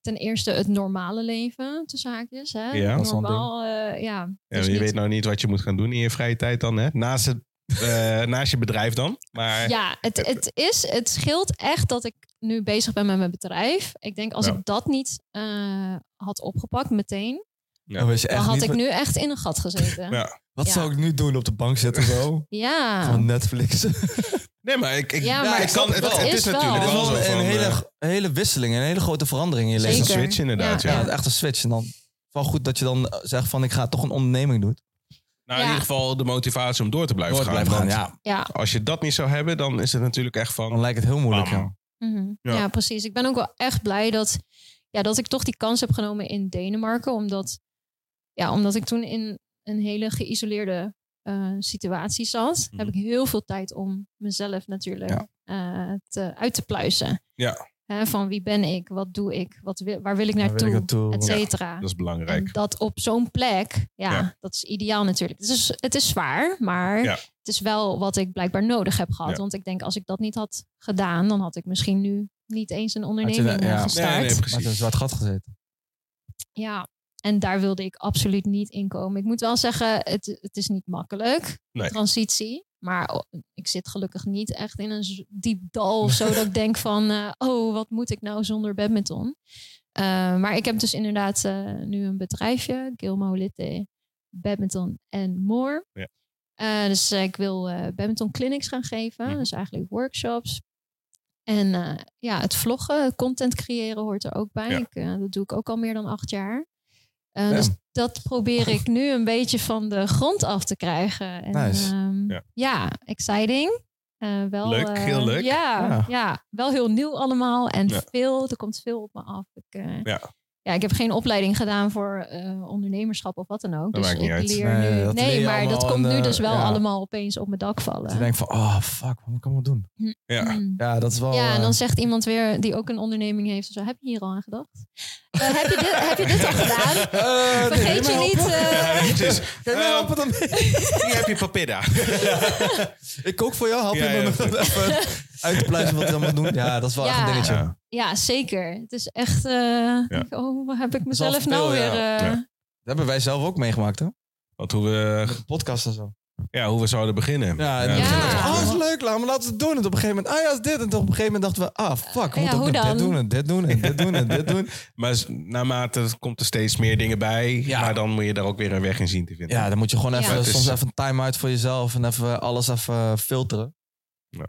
ten eerste het normale leven, tussen haakjes. Hè?
Ja, dat
is wel een
Normaal, eh, ja.
Ja,
Dus
je
niet-
weet nou niet wat je moet gaan doen in je vrije tijd dan, hè? Naast, het, eh, naast je bedrijf dan. Maar
Ja, het, het, is, het scheelt echt dat ik nu bezig ben met mijn bedrijf. Ik denk als
Ja.
ik dat niet eh, had opgepakt meteen,
Ja.
Dan wist je
dan
echt
had
niet
ik
wat-
nu echt in een gat gezeten.
Ja.
Ja.
Wat zou ik nu doen? Op de bank zitten zo? Van Netflix. Het
nee, maar ik, ik,
Ja,
ja,
maar
ik kan,
dat
het,
wel.
het is
Is wel.
natuurlijk
Het
is
wel zo
wel
van,
een
eh,
hele, hele wisseling, een hele grote verandering in je
het is
leven.
een
Zeker.
switch inderdaad, ja.
Ja,
Ja, het is echt een switch. En dan wel goed dat je dan eh, zegt van ik ga toch een onderneming doen.
Nou, in
Ja.
ieder geval de motivatie om door te blijven
Door te
gaan.
blijven gaan,
want
ja.
ja.
Als je dat niet zou hebben, dan is het natuurlijk echt
Dan
van...
lijkt het heel moeilijk.
Bam.
ja.
Mhm.
Ja.
Ja. precies. Ik ben ook wel echt blij dat, ja, dat ik toch die kans heb genomen in Denemarken. Omdat, ja, omdat ik toen in een hele geïsoleerde eh, situatie zat,
Mhm.
heb ik heel veel tijd om mezelf natuurlijk
Ja.
eh, te, uit te pluizen.
Ja.
Hè, van wie ben ik? Wat doe ik? Wat wil, waar wil ik
Waar wil ik eh,
naartoe?
naartoe?
Et
Ja.
cetera.
Dat is belangrijk.
En dat op zo'n plek, ja,
Ja.
dat is ideaal natuurlijk. Het is, het is zwaar, maar
Ja.
het is wel wat ik blijkbaar nodig heb gehad.
Ja.
Want ik denk, als ik dat niet had gedaan, dan had ik misschien nu niet eens een onderneming
Had je dat-
eh,
ja.
gestart.
Nee, nee,
Maar het is een
precies.
zwart gat gezeten.
Ja, en daar wilde ik absoluut niet in komen. Ik moet wel zeggen, het, het is niet makkelijk,
Nee.
transitie. Maar o- ik zit gelukkig niet echt in een z- diep dal of zo dat ik denk van, eh, oh, wat moet ik nou zonder badminton? Eh, maar ik heb dus inderdaad eh, nu een bedrijfje, Gilmolite, Badminton en More.
Ja.
Eh, dus eh, ik wil eh, badminton clinics gaan geven,
Mhm.
dus eigenlijk workshops. En eh, ja, het vloggen, content creëren hoort er ook bij.
Ja.
Ik, eh, dat doe ik ook al meer dan acht jaar. Eh,
Ja.
Dus dat probeer ik nu een beetje van de grond af te krijgen. En,
Nice.
ehm,
Ja.
ja. exciting. Eh, wel,
Leuk,
eh,
heel leuk.
Ja,
Ja.
ja. wel heel nieuw allemaal. En
Ja.
veel, er komt veel op me af. Ik, eh,
Ja.
ja, ik heb geen opleiding gedaan voor eh, ondernemerschap of wat dan ook.
Dat
dus
maakt niet
ik
uit.
leer
Nee,
nu.
dat leer
nee,
je
maar dat
allemaal
komt
en,
nu
eh,
dus wel
ja.
allemaal opeens op mijn dak
Dat je
vallen.
denkt van, oh fuck, wat kan ik wel doen?
Ja.
Mm.
Ja, dat is wel...
Ja, en
eh,
dan zegt iemand weer die ook een onderneming heeft. Zo, heb je hier al aan gedacht? Eh, heb, je dit, heb je dit al gedaan?
eh, nee,
Vergeet
wil
je
mij
niet.
helpen?
eh,
Ja, het is-
Kan je mij helpen dan?
hier heb je papilla.
Ik kook voor jou, help
Ja,
je
ja,
me
goed.
met even uit te pluizen wat je dan moet doen? Ja, dat is wel
Ja.
echt een dingetje.
Ja.
ja, zeker. Het is echt. eh, denk ik, Oh, waar heb ik
is al
mezelf
veel,
nou
ja.
weer? eh,
Ja.
Dat hebben wij zelf ook meegemaakt, hè?
Wat hoe we,
Met podcast en zo.
ja, hoe we zouden beginnen.
Ja, en
Ja.
dan
Ja.
dachten we, oh, is leuk, laten we laten we het doen. En op een gegeven moment, ah ja, is dit. En op een gegeven moment dachten we, ah, fuck, we
Ja,
moeten ook
hoe
nog
dan?
dit doen en dit doen en dit doen en dit doen.
Maar s- naarmate het komt er steeds meer dingen bij.
Ja.
Maar dan moet je daar ook weer een weg in zien te vinden.
Ja, dan moet je gewoon
Ja.
even,
Het is-
soms even een time-out voor jezelf en even alles even eh, filteren.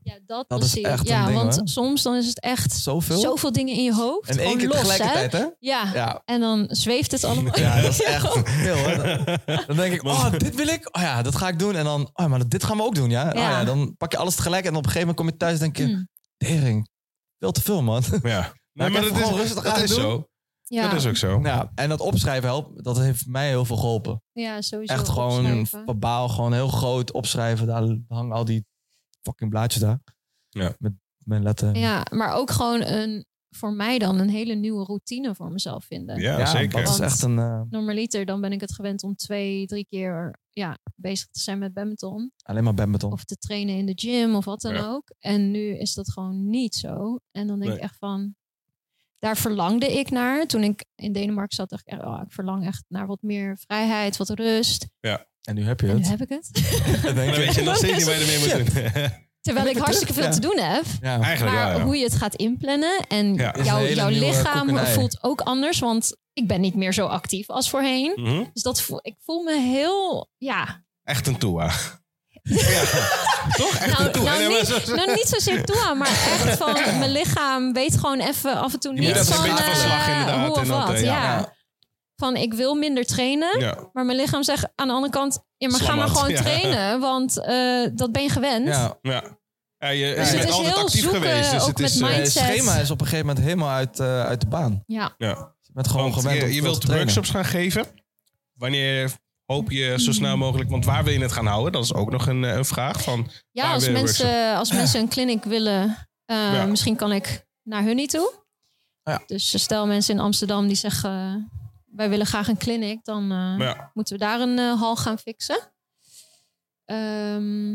Ja, dat,
Dat is
precies.
echt een
ja,
ding,
want
hoor.
soms dan is het echt
Zoveel.
zoveel dingen in je hoofd.
en
gewoon
één keer
los,
tegelijkertijd, hè?
Hè? Ja.
Ja.
En dan zweeft het allemaal.
Ja, dat is echt veel, hè? Dan- Dan denk Nou, ik, oh, dit wil ik. Oh ja, dat ga ik doen. En dan, oh ja, maar dit gaan we ook doen, ja? Oh,
Ja.
ja dan pak je alles tegelijk en op een gegeven moment kom je thuis en denk je,
Mm.
tering, veel te veel, man.
Ja.
ik heb gewoon rustig
dat
aan
is
doen.
zo.
Ja,
Dat is ook zo.
Ja, en dat opschrijven helpt, dat heeft mij heel veel geholpen.
ja sowieso.
Echt gewoon
opschrijven.
verbaal, gewoon heel groot opschrijven. Daar hangen al die fucking blaadjes daar.
Ja.
Met mijn letter.
Ja, maar ook gewoon een, voor mij dan een hele nieuwe routine voor mezelf vinden.
Ja, zeker.
dat is echt een... eh,
Normaliter, dan ben ik het gewend om twee, drie keer ja, bezig te zijn met badminton.
alleen maar badminton.
Of te trainen in de gym of wat dan
Ja.
ook. En nu is dat gewoon niet zo. En dan denk
Nee.
ik echt van... Daar verlangde ik naar. Toen ik in Denemarken zat, dacht ik... echt, Oh, ik verlang echt naar wat meer vrijheid, wat rust.
En nu heb je
En nu
het.
heb ik het.
Dan denk
Maar
je,
weet je nog steeds niet waar je ermee moet doen.
Terwijl
Ben
ik
ik
hartstikke veel
terug?
te doen heb.
ja.
Eigenlijk
Maar
wel, ja.
hoe je het gaat inplannen en
Ja.
Is een
jouw,
hele
jouw
nieuwe
lichaam
koekenij.
voelt ook anders. Want ik ben niet meer zo actief als voorheen.
Mhm.
Dus dat voel, ik voel me heel, ja.
Echt een toa. ja. Toch? Echt een
Nou,
toa.
nou,
Nee, maar
niet,
zo-
nou, niet zozeer toe aan, maar echt van mijn lichaam weet gewoon even af en toe
Je
niet
moet even
van,
een beetje van
eh,
slag inderdaad
hoe of
en dat,
wat.
eh,
ja.
ja.
Van ik wil minder trainen,
Ja.
maar mijn lichaam zegt aan de andere kant, ja, maar ga maar
Slamat,
gewoon
ja.
trainen, want eh, dat ben je gewend.
Ja.
Ja. Ja, je,
Dus het
je bent
is
altijd
heel
actief
zoeken,
geweest. Dus
ook
het is.
met
eh,
mindset.
Het schema is op een gegeven moment helemaal uit, eh, uit de baan.
Ja.
ja.
Je bent gewoon
Want
gewend om
je, je
veel te
wilt
trainen.
workshops gaan geven. Wanneer hoop je zo snel mogelijk? Want waar wil je het gaan houden? Dat is ook nog een, eh, een vraag. Van,
Ja,
Waar
als
wil je
mensen, als mensen een clinic willen, eh,
Ja.
misschien kan ik naar hun niet toe.
Ja.
Dus stel mensen in Amsterdam die zeggen, eh, wij willen graag een clinic, dan eh,
ja,
moeten we daar een eh, hal gaan fixen. Ehm,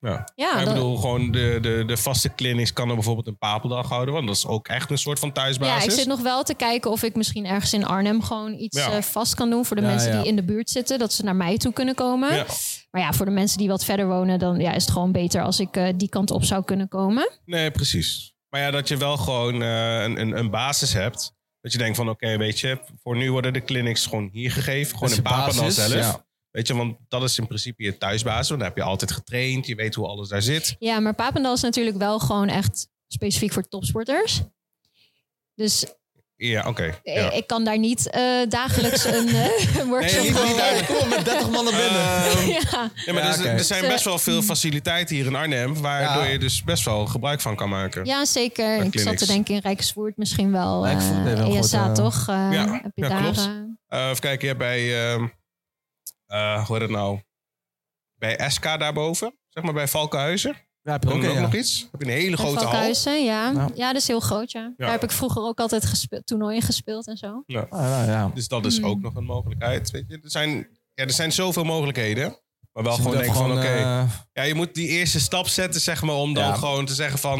Ja.
ja,
ik
dan-
bedoel, gewoon de, de, de vaste clinics kan er bijvoorbeeld een papeldag houden. Want dat is ook echt een soort van
ja,
thuisbasis.
ik zit nog wel te kijken of ik misschien ergens in Arnhem gewoon iets
Ja.
eh, vast kan doen voor de
Ja,
mensen
ja.
die in de buurt zitten, dat ze naar mij toe kunnen komen.
Ja.
Maar ja, voor de mensen die wat verder wonen, dan ja, is het gewoon beter als ik eh, die kant op zou kunnen komen.
Nee, precies. Maar ja, dat je wel gewoon eh, een, een, een basis hebt. Dat je denkt van, oké, weet je, voor nu worden de clinics gewoon hier gegeven. Gewoon
is
in
je
Papendal
basis,
zelf.
ja.
Weet je, want dat is in principe je thuisbasis. Want daar heb je altijd getraind. Je weet hoe alles daar zit.
Ja, maar Papendal is natuurlijk wel gewoon echt specifiek voor topsporters. Dus
Ja, oké.
eh,
ja.
ik kan daar niet eh, dagelijks een eh, workshop
niet-
voor-
niet duidelijk.
Kom met 30 man naar binnen.
Ehm,
Ja.
ja, maar
Ja,
er,
oké.
er zijn best wel
Hm.
veel faciliteiten hier in Arnhem. Waardoor
Ja.
je dus best wel gebruik van kan maken.
ja, zeker.
Maar
Ik zat te
clinics.
denken in Rijksvoort misschien wel. eh,
Rijksvoort deed wel goed,
ESA
eh,
toch? Eh,
ja,
heb je
ja,
daar,
klopt.
eh,
Eh, even kijken, ja, bij... ehm eh, hoe heet het nou? Bij SK daarboven. Zeg maar bij Valkenhuizen.
Ja, heb je
Doen
ook,
we ook
ja.
nog iets? Heb je een
bij
hele grote hal.
Valkhuizen, ja.
Ja.
ja. dat is heel groot, ja. Daar heb ik vroeger ook altijd gespe- toernooien gespeeld en zo.
Ah, nou, ja.
Dus dat is
Hmm.
ook nog een mogelijkheid. Weet je, er, zijn, ja, er zijn zoveel mogelijkheden. Maar wel
Dus je
gewoon
moet
denken
even
van, oké.
gewoon, eh,
ja, je moet die eerste stap zetten, zeg maar. Om dan
Ja.
gewoon te zeggen van,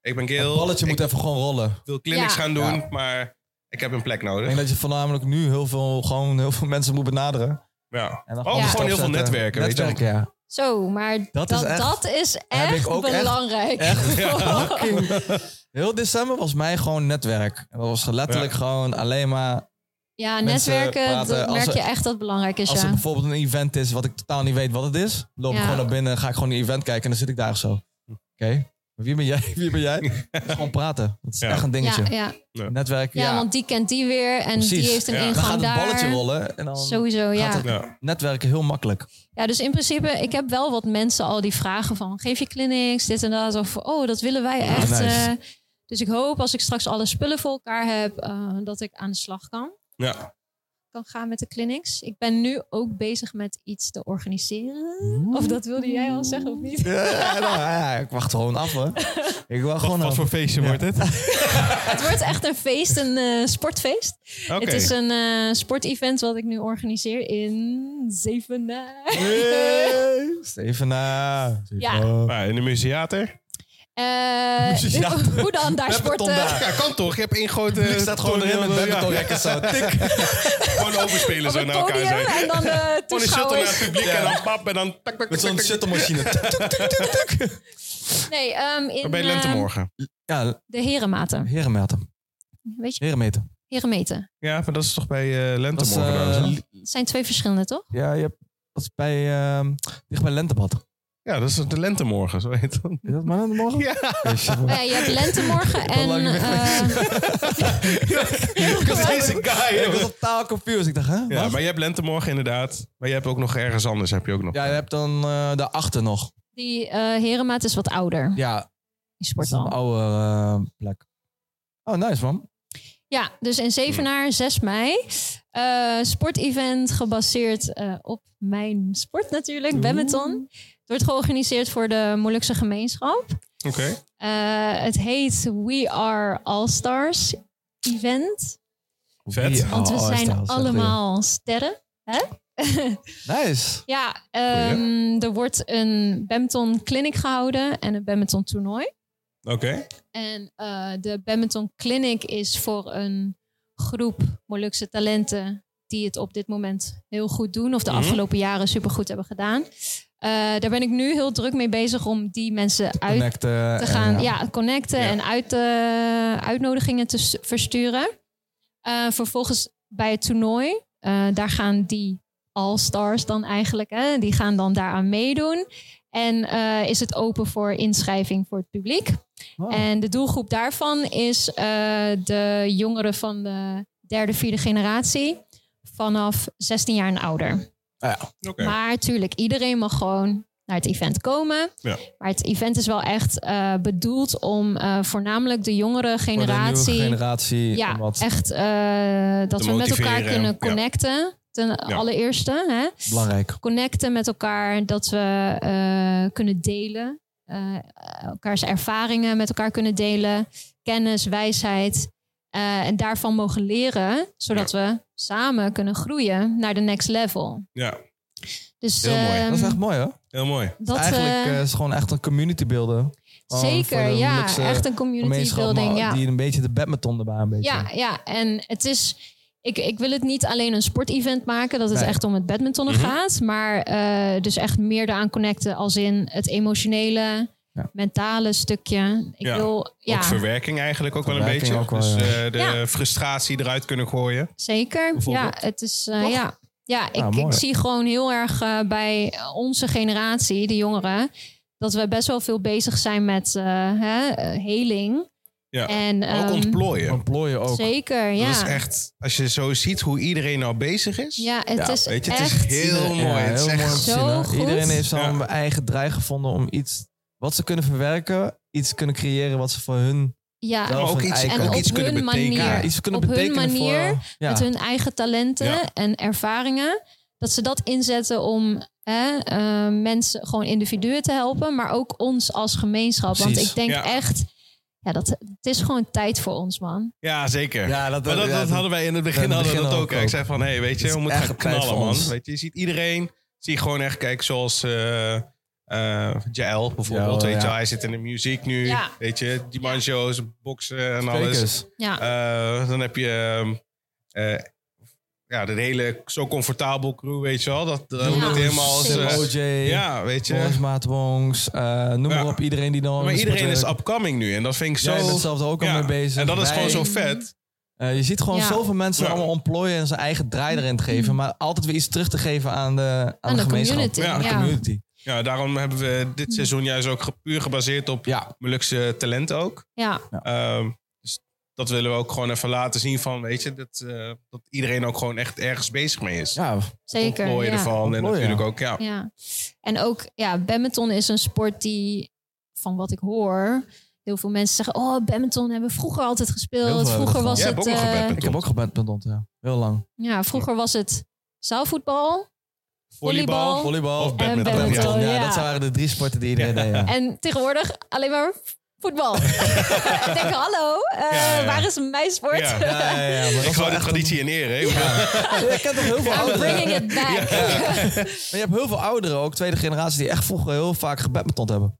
ik ben
het
Gil.
balletje
ik
moet even gewoon rollen. Ik
wil clinics
Ja.
gaan doen,
Ja.
maar ik heb een plek nodig.
denk dat je voornamelijk nu heel veel, gewoon heel veel mensen moet benaderen.
Ja.
En dan
Oh,
Ja.
gewoon heel veel
opzetten.
netwerken, weet je wel.
Netwerken, ja.
Zo, maar dat,
is echt-
dat is
heb ik
echt
ook echt-
belangrijk.
Echt? Heel december was mij gewoon netwerk. En dat was letterlijk gewoon alleen maar...
Ja,
Mensen
netwerken,
praten
dat
als
merk
ze-
je echt dat het belangrijk is,
Als
ja.
er bijvoorbeeld een event is wat ik totaal niet weet wat het is... loop ik
Ja.
gewoon naar binnen, ga ik gewoon een event kijken en dan zit ik daar zo. Oké, Wie ben jij? Wie ben jij? Dat is gewoon praten. Dat is
Ja.
echt een
Ja,
dingetje.
ja. ja,
Netwerken, ja.
want die kent die weer en
Precies.
die heeft een
Ja.
dan
ingang
gaat het
daar.
balletje rollen en dan
Sowieso, ja.
gaat het
Ja.
netwerken heel makkelijk.
Ja, dus in principe, ik heb wel wat mensen al die vragen van... geef je clinics, dit en dat, of oh, dat willen wij echt.
nice.
eh. dus ik hoop als ik straks alle spullen voor elkaar heb... eh, dat ik aan de slag kan,
ja.
kan gaan met de clinics. Ik ben nu ook bezig met iets te organiseren. Of dat wilde jij al zeggen, of niet?
Ja, ja, nou, ja, ik wacht gewoon af hoor. Ik wacht
Wat,
gewoon
wat
af.
voor feestje wordt het?
Het wordt echt een feest, een eh, sportfeest.
Oké.
Het is een eh, sportevent wat ik nu organiseer in Zevenaar.
Hey, Stevena.
Ja.
Nou, in de museater.
Eh,
Ja.
Hoe dan daar sporten?
Ja, kan toch? Je hebt één grote...
Ik staat gewoon erin met badmintonrackets zo. Tik.
Gewoon overspelen
Op
zo
het
nou
naar elkaar.
podium
Zijn.
en dus dan de
Gewoon een shuttle naar het
toeschouwers.
publiek en dan pap en dan... Tak, tak, tak,
Met zo'n
tak, tak.
shuttle-machine. Tuk, tuk, tuk, tuk, tuk.
Nee, ehm, in
Maar Bij
ehm,
Lentemorgen.
Ja,
de herenmaten.
herenmeten.
Weet je,
Herenmeten.
herenmeten.
Ja, maar dat is toch bij eh
Dat is,
Lentemorgen?
eh,
trouwens, hè?
li-
Het zijn twee verschillende, toch?
ja, je hebt, dat is bij, ehm, dicht bij Lentebad.
ja, dat is de Lentemorgen, zo heet het.
Is dat maar Lentemorgen?
Ja.
Ja, shit, man.
Oh ja, je hebt lentemorgen en...
lang niet meer
eh,
Ik was deze guy.
Ik was
jongen.
totaal confused. Ik dacht, hè?
Ja,
wat?
maar je hebt Lentemorgen inderdaad. Maar je hebt ook nog ergens anders. Heb je ook nog.
Ja, je hebt dan eh daarachter nog.
die eh herenmaat is wat ouder,
Ja, dat
die
is een
sporthal.
oude eh, plek. Oh, nice man.
Ja, dus in Zevenaar, 6 mei. Eh, sportevent gebaseerd eh, op mijn sport natuurlijk, badminton. Het wordt georganiseerd voor de Molukse gemeenschap.
Oké.
Eh, het heet We Are All Stars Event.
Vet.
Ja,
Want we
oh,
zijn
is dat- is dat
allemaal sterren.
weer. Nice.
Ja, ehm, er wordt een badminton clinic gehouden en een badminton toernooi.
Oké.
En eh, de badminton clinic is voor een groep Molukse talenten die het op dit moment heel goed doen. Of de
Mhm.
afgelopen jaren supergoed hebben gedaan. Eh, daar ben ik nu heel druk mee bezig om die mensen uit
Connecten.
te
eh, en,
gaan ja, connecten
Ja.
en uit, eh, uitnodigingen te s- versturen. Eh, vervolgens bij het toernooi, eh, daar gaan die all-stars dan eigenlijk, hè, die gaan dan daaraan meedoen. En eh, is het open voor inschrijving voor het publiek.
Wow.
En de doelgroep daarvan is eh, de jongeren van de derde, vierde generatie vanaf 16 jaar en ouder.
Oké.
Maar tuurlijk, iedereen mag gewoon naar het event komen.
Ja.
Maar het event is wel echt eh, bedoeld om eh, voornamelijk de jongere
Voor de nieuwe
generatie...
generatie.
ja,
om wat
echt eh, dat
Te
we met elkaar
motiveren,
kunnen
ja.
connecten. Ten allereerste, hè? ehm,
belangrijk.
connecten met elkaar, dat we eh, kunnen delen. eh, elkaars ervaringen met elkaar kunnen delen. Kennis, wijsheid. eh, en daarvan mogen leren, zodat we samen kunnen groeien naar de next level.
Ja,
Dus,
Heel mooi.
ehm,
dat is echt mooi, hè?
heel mooi.
dat,
Eigenlijk
eh,
eh, is gewoon echt een community builden. Gewoon
zeker,
voor de
ja.
Molukse
Echt een community
gemeenschap,
building,
maar
ja.
Die een beetje de badminton erbij een beetje.
Ja, ja. En het is... Ik, ik wil het niet alleen een sportevent maken, dat het
Nee.
echt om het badmintonnen
Mhm.
gaat. Maar eh, dus echt meer daaraan connecten als in het emotionele,
Ja.
mentale stukje. Ik
Ja.
wil,
Ook
ja,
verwerking eigenlijk ook wel een
Verwerking
beetje.
ook wel,
dus
ja.
eh, de
Ja.
frustratie eruit kunnen gooien.
zeker. Ja,
bijvoorbeeld.
het is... eh,
Toch?
ja. Ja, ik,
Ja, mooi.
ik zie gewoon heel erg eh, bij onze generatie, de jongeren, dat we best wel veel bezig zijn met eh, hè, eh, heling.
Ja.
En,
ook
ehm,
ontplooien.
Ontplooien ook.
Zeker, ja.
Dat is echt, als je zo ziet hoe iedereen nou bezig is.
Ja, het
Ja,
is
Weet je, het
echt...
is heel mooi.
Ja,
het is
heel
echt-
mooi om te
Zo
zien, hè?
goed.
Iedereen heeft zo'n
Ja.
eigen draai gevonden om iets wat ze kunnen verwerken, iets kunnen creëren wat ze voor hun
ja,
wel
Maar ook
van
iets,
eigen.
En
ook
op
iets kunnen
hun
betekenen.
manier.
ja, iets kunnen
Op hun
betekenen
manier,
voor ja,
met hun eigen talenten
Ja.
en ervaringen. Dat ze dat inzetten om hè, eh, mensen, gewoon individuen te helpen, maar ook ons als gemeenschap. Want
Precies,
ik denk
ja.
echt, ja, dat, het is gewoon tijd voor ons, man.
Ja, zeker.
Ja, dat,
Maar dat,
ja,
dat hadden wij in het
in
begin,
het
hadden we
begin
dat ook.
ook
hè.
ook.
Ik zei van, hé, hey, weet je,
Het is
we moeten
echt
gaan
een tijd
knallen,
voor
man.
ons.
Weet je, je ziet iedereen, zie je gewoon echt, kijk, zoals eh eh, Jael bijvoorbeeld.
Jael,
weet je,
ja.
hij zit in de muziek nu.
Ja.
Weet je, Dimancho's, boksen en alles.
Zeker.
Ja,
Eh, dan heb je eh, eh, ja, de hele zo comfortabel crew, weet je wel. Dat, dat
Ja.
helemaal als,
Zeker.
eh,
OJ,
ja, weet je.
Boris Maatwongs, eh, noem
Ja.
maar op. Iedereen die dan...
Maar iedereen is upcoming nu en dat vind ik zo...
Jij bent zelf er ook al
Ja,
mee bezig.
En dat is gewoon
Wij-
zo vet.
Eh, je ziet gewoon
Ja. Mm.
zoveel mensen
Ja.
allemaal ontplooien en zijn eigen draai erin te geven. Maar altijd weer iets terug te geven aan de, aan
aan de
gemeenschap.
community.
Ja.
Ja.
Aan de community.
Ja, daarom hebben we dit seizoen juist ook ge- puur gebaseerd op
Ja.
Molukse talent ook.
Ja,
Ehm, dus dat willen we ook gewoon even laten zien van, weet je, dat, eh, dat iedereen ook gewoon echt ergens bezig mee is.
Ja,
zeker.
Ontplooien
ja.
ervan en
Ontplooien.
natuurlijk ook, ja.
Ja. En ook, ja, badminton is een sport die, van wat ik hoor, heel veel mensen zeggen: Oh, badminton hebben we vroeger altijd
Heel veel
gespeeld.
hebben
Vroeger
we
was
Jij hebt
het.
ook nog
eh,
gebadminton.
ik heb ook gebadminton, ja. Heel lang.
ja, vroeger was het zaalvoetbal. Volleybal.
Volleybal
Of
badminton,
en
badminton,
Ja.
ja.
dat waren de drie sporten die iedereen deed. Ja.
En tegenwoordig alleen maar voetbal. ik denk, hallo, eh,
Ja, ja.
waar is mijn sport?
Ja.
Ja, ja, ja, maar dat
Ik
was
hou
wel
de
echt
traditie in ere. hè.
een- Ik ken toch heel veel
I'm
ouderen.
bringing it back. Ja,
Maar je hebt heel veel ouderen, ook tweede generatie, die echt vroeger heel vaak gebadminton hebben.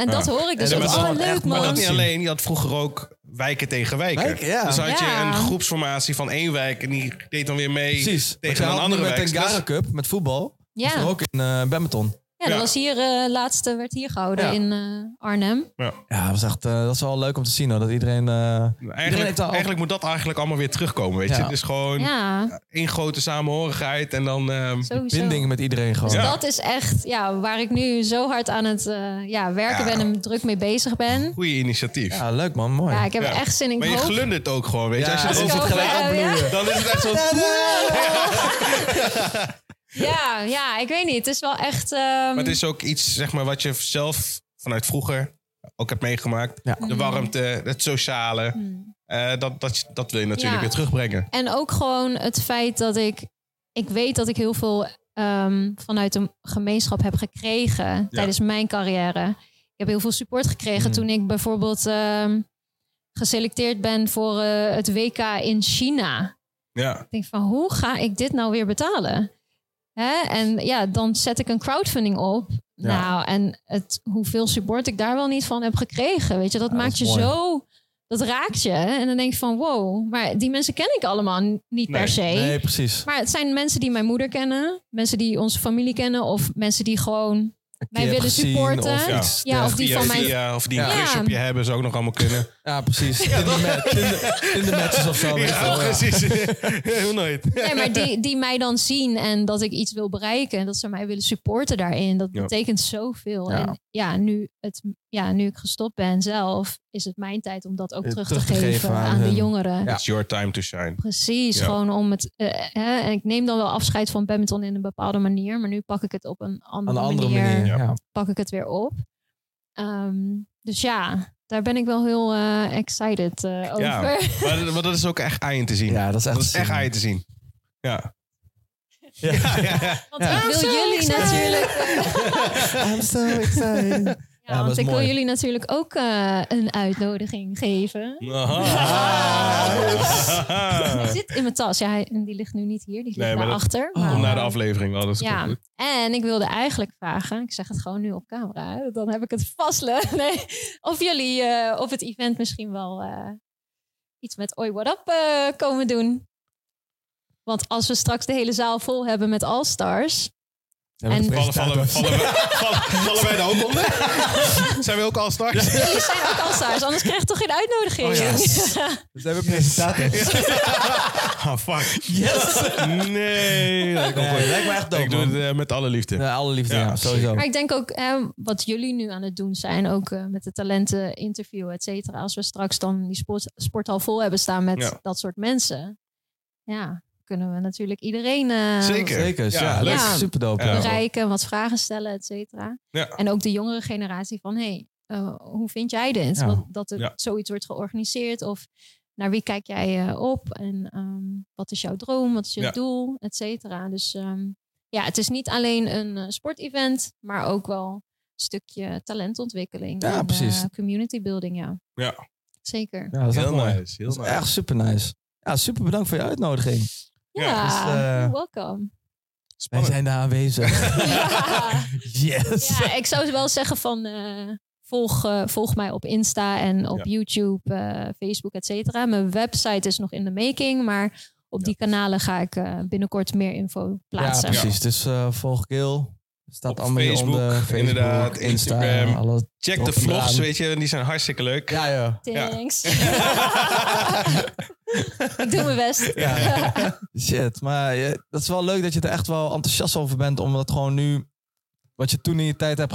en dat hoor ik dus.
Ja,
ook.
maar dat is
oh,
gewoon
leuk
echt
Maar
man.
dat
mooi.
niet alleen. Je had vroeger ook wijken tegen wijken.
Wijken, ja.
Dus had je
Ja.
een groepsformatie van één wijk... en die deed dan weer mee
Precies. Want je
tegen
had
een
nu
andere
met
wijk.
de
Dus dat is-
Gara Cup, met voetbal,
Ja,
is er ook in eh badminton.
ja,
Ja.
dat was hier, eh, laatste werd hier gehouden
Ja.
in eh, Arnhem.
Ja, dat is echt, eh, dat is wel leuk om te zien hoor, dat iedereen... eh, Iedereen
Eigenlijk,
heeft al-
eigenlijk moet dat eigenlijk allemaal weer terugkomen, weet je.
Ja.
Het is gewoon
Ja,
één grote samenhorigheid en dan... ehm,
sowieso.
binding met iedereen gewoon.
Dus
Ja.
dat is echt ja, waar ik nu zo hard aan het eh, ja, werken
Ja.
ben en druk mee bezig ben.
goeie initiatief.
Ja, Ah, leuk man, mooi.
Ja, ik heb
Ja.
echt zin in
Maar je
hoop.
glundert ook gewoon, weet je.
Ja,
Als
als
je
ik
erover
het gelijk
over heb, ja.
dan is het echt zo...
Ja, ja, ik weet niet. Het is wel echt... ehm,
Maar het is ook iets, zeg maar, wat je zelf vanuit vroeger ook hebt meegemaakt.
Ja.
De warmte, het sociale.
ehm, hmm.
eh, dat, dat, dat wil je natuurlijk
Ja.
weer terugbrengen.
En ook gewoon het feit dat ik... Ik weet dat ik heel veel ehm, vanuit de gemeenschap heb gekregen tijdens mijn carrière. Ik heb heel veel support gekregen
Mm.
toen ik bijvoorbeeld ehm, geselecteerd ben voor eh, het WK in China.
Ja.
Ik denk van, hoe ga ik dit nou weer betalen? Hè? En ja, dan zet ik een crowdfunding op.
Ja.
Nou, en het, hoeveel support ik daar wel niet van heb gekregen. Weet je, dat
Ja, dat
maakt
is
je
mooi.
zo... Dat raakt je. En dan denk je van, wow. Maar die mensen ken ik allemaal n- niet
Nee.
per se.
Nee, precies.
Maar het zijn mensen die mijn moeder kennen. Mensen die onze familie kennen. Of mensen die gewoon...
Een
Wij
keer
willen
gezien
supporten.
Of iets
Ja, of die
Via,
van mij-
via, of die een
Ja.
crush op je hebben, zou ook nog allemaal kunnen.
Ja, precies. In de ma- in de- in de matches of zo. weet je wel, ja.
precies. Heel nooit.
Nee, maar die, die mij dan zien en dat ik iets wil bereiken. En dat ze mij willen supporten daarin. Dat
Ja.
betekent zoveel.
Ja.
En ja nu, het, ja, nu ik gestopt ben zelf, is het mijn tijd om dat ook
Eh,
terug, te, geven, aan, de
hun.
jongeren.
Ja.
It's your time to shine.
Precies,
Ja.
gewoon om het... eh, hè, en ik neem dan wel afscheid van badminton in een bepaalde manier. Maar nu pak ik het op een
Aan
andere,
de andere
manier,
manier.
Ja.
Ja.
Pak ik het weer op. Ehm, dus ja, daar ben ik wel heel eh, excited eh, over.
Ja. Maar, dat- maar dat is ook echt aan je te zien.
Ja, dat is echt,
dat is echt
zin.
aan je te zien. Ja.
Ja.
Ja, ja.
Want
Ja.
ik wil jullie natuurlijk... eh,
I'm so excited.
Ja,
Ja, dat
want
is
ik wil
mooi.
jullie natuurlijk ook eh, een uitnodiging geven.
Aha.
Die zit in mijn tas. Ja, hij- die ligt nu niet hier. Die ligt
Nee, maar dat-
daarachter.
Oh,
maar,
Naar de aflevering wel, dat is
Ja,
goed.
en ik wilde eigenlijk vragen, ik zeg het gewoon nu op camera, dan heb ik het vast. le- Nee, of jullie eh, op het event misschien wel eh, iets met Oi What Up eh, komen doen. Want als we straks de hele zaal vol hebben met All-Stars. En-
Vallen, vallen, vallen, we- vallen, vallen wij daar ook onder? Zijn we ook al straks?
Jullie zijn ook All-Stars, anders krijg je toch geen uitnodiging.
Oh ja. Dus hebben presentaties.
Ah, fuck.
Yes!
Nee. dat komt goed.
Nee, lijkt me echt dope,
Ik doe het
man.
eh, met alle liefde.
Ja, alle liefde,
Ja,
ja, sowieso.
Maar ik denk ook hè, wat jullie nu aan het doen zijn, ook eh, met de talenten interview, et cetera. Als we straks dan die sport, sporthal vol hebben staan met
Ja.
dat soort mensen, ja, kunnen we natuurlijk iedereen eh,
Zeker.
Zeker, dus ja,
Ja,
leuk.
leuk.
Super dope.
Ja.
bereiken, wat vragen stellen, et cetera.
Ja.
En ook de jongere generatie van, hé, hey, eh, hoe vind jij dit?
Ja.
Wat- dat er
Ja.
zoiets wordt georganiseerd of naar wie kijk jij eh, op en ehm, wat is jouw droom, wat is je
Ja.
doel, et cetera. Dus ehm, ja, het is niet alleen een eh, sportevent, maar ook wel een stukje talentontwikkeling.
Ja,
en,
precies.
eh, community building, ja.
Ja.
Zeker.
Ja, dat is echt
Heel
mooi.
nice. Heel
Dat is
nice.
echt super nice. Ja, super bedankt voor je uitnodiging.
Ja,
Ja,
dus, eh,
welkom.
Wij
Spannend.
zijn daar aanwezig.
Ja.
Yes!
Ja, ik zou wel zeggen van eh, volg, eh, volg mij op Insta en op
Ja.
YouTube, eh, Facebook, et cetera. Mijn website is nog in de making, maar op die kanalen ga ik eh, binnenkort meer info
Ja,
plaatsen.
precies. Dus eh volg Gil. Staat
Op
allemaal hier
Facebook,
onder. Facebook,
inderdaad,
Insta,
Instagram.
Alle...
Check de
Top gedaan.
vlogs, weet je. Die zijn hartstikke leuk.
Ja, ja.
Ja.
Thanks. ik doe mijn best.
Shit. Maar je- dat is wel leuk dat je er echt wel enthousiast over bent. Om dat gewoon nu wat je toen in je tijd hebt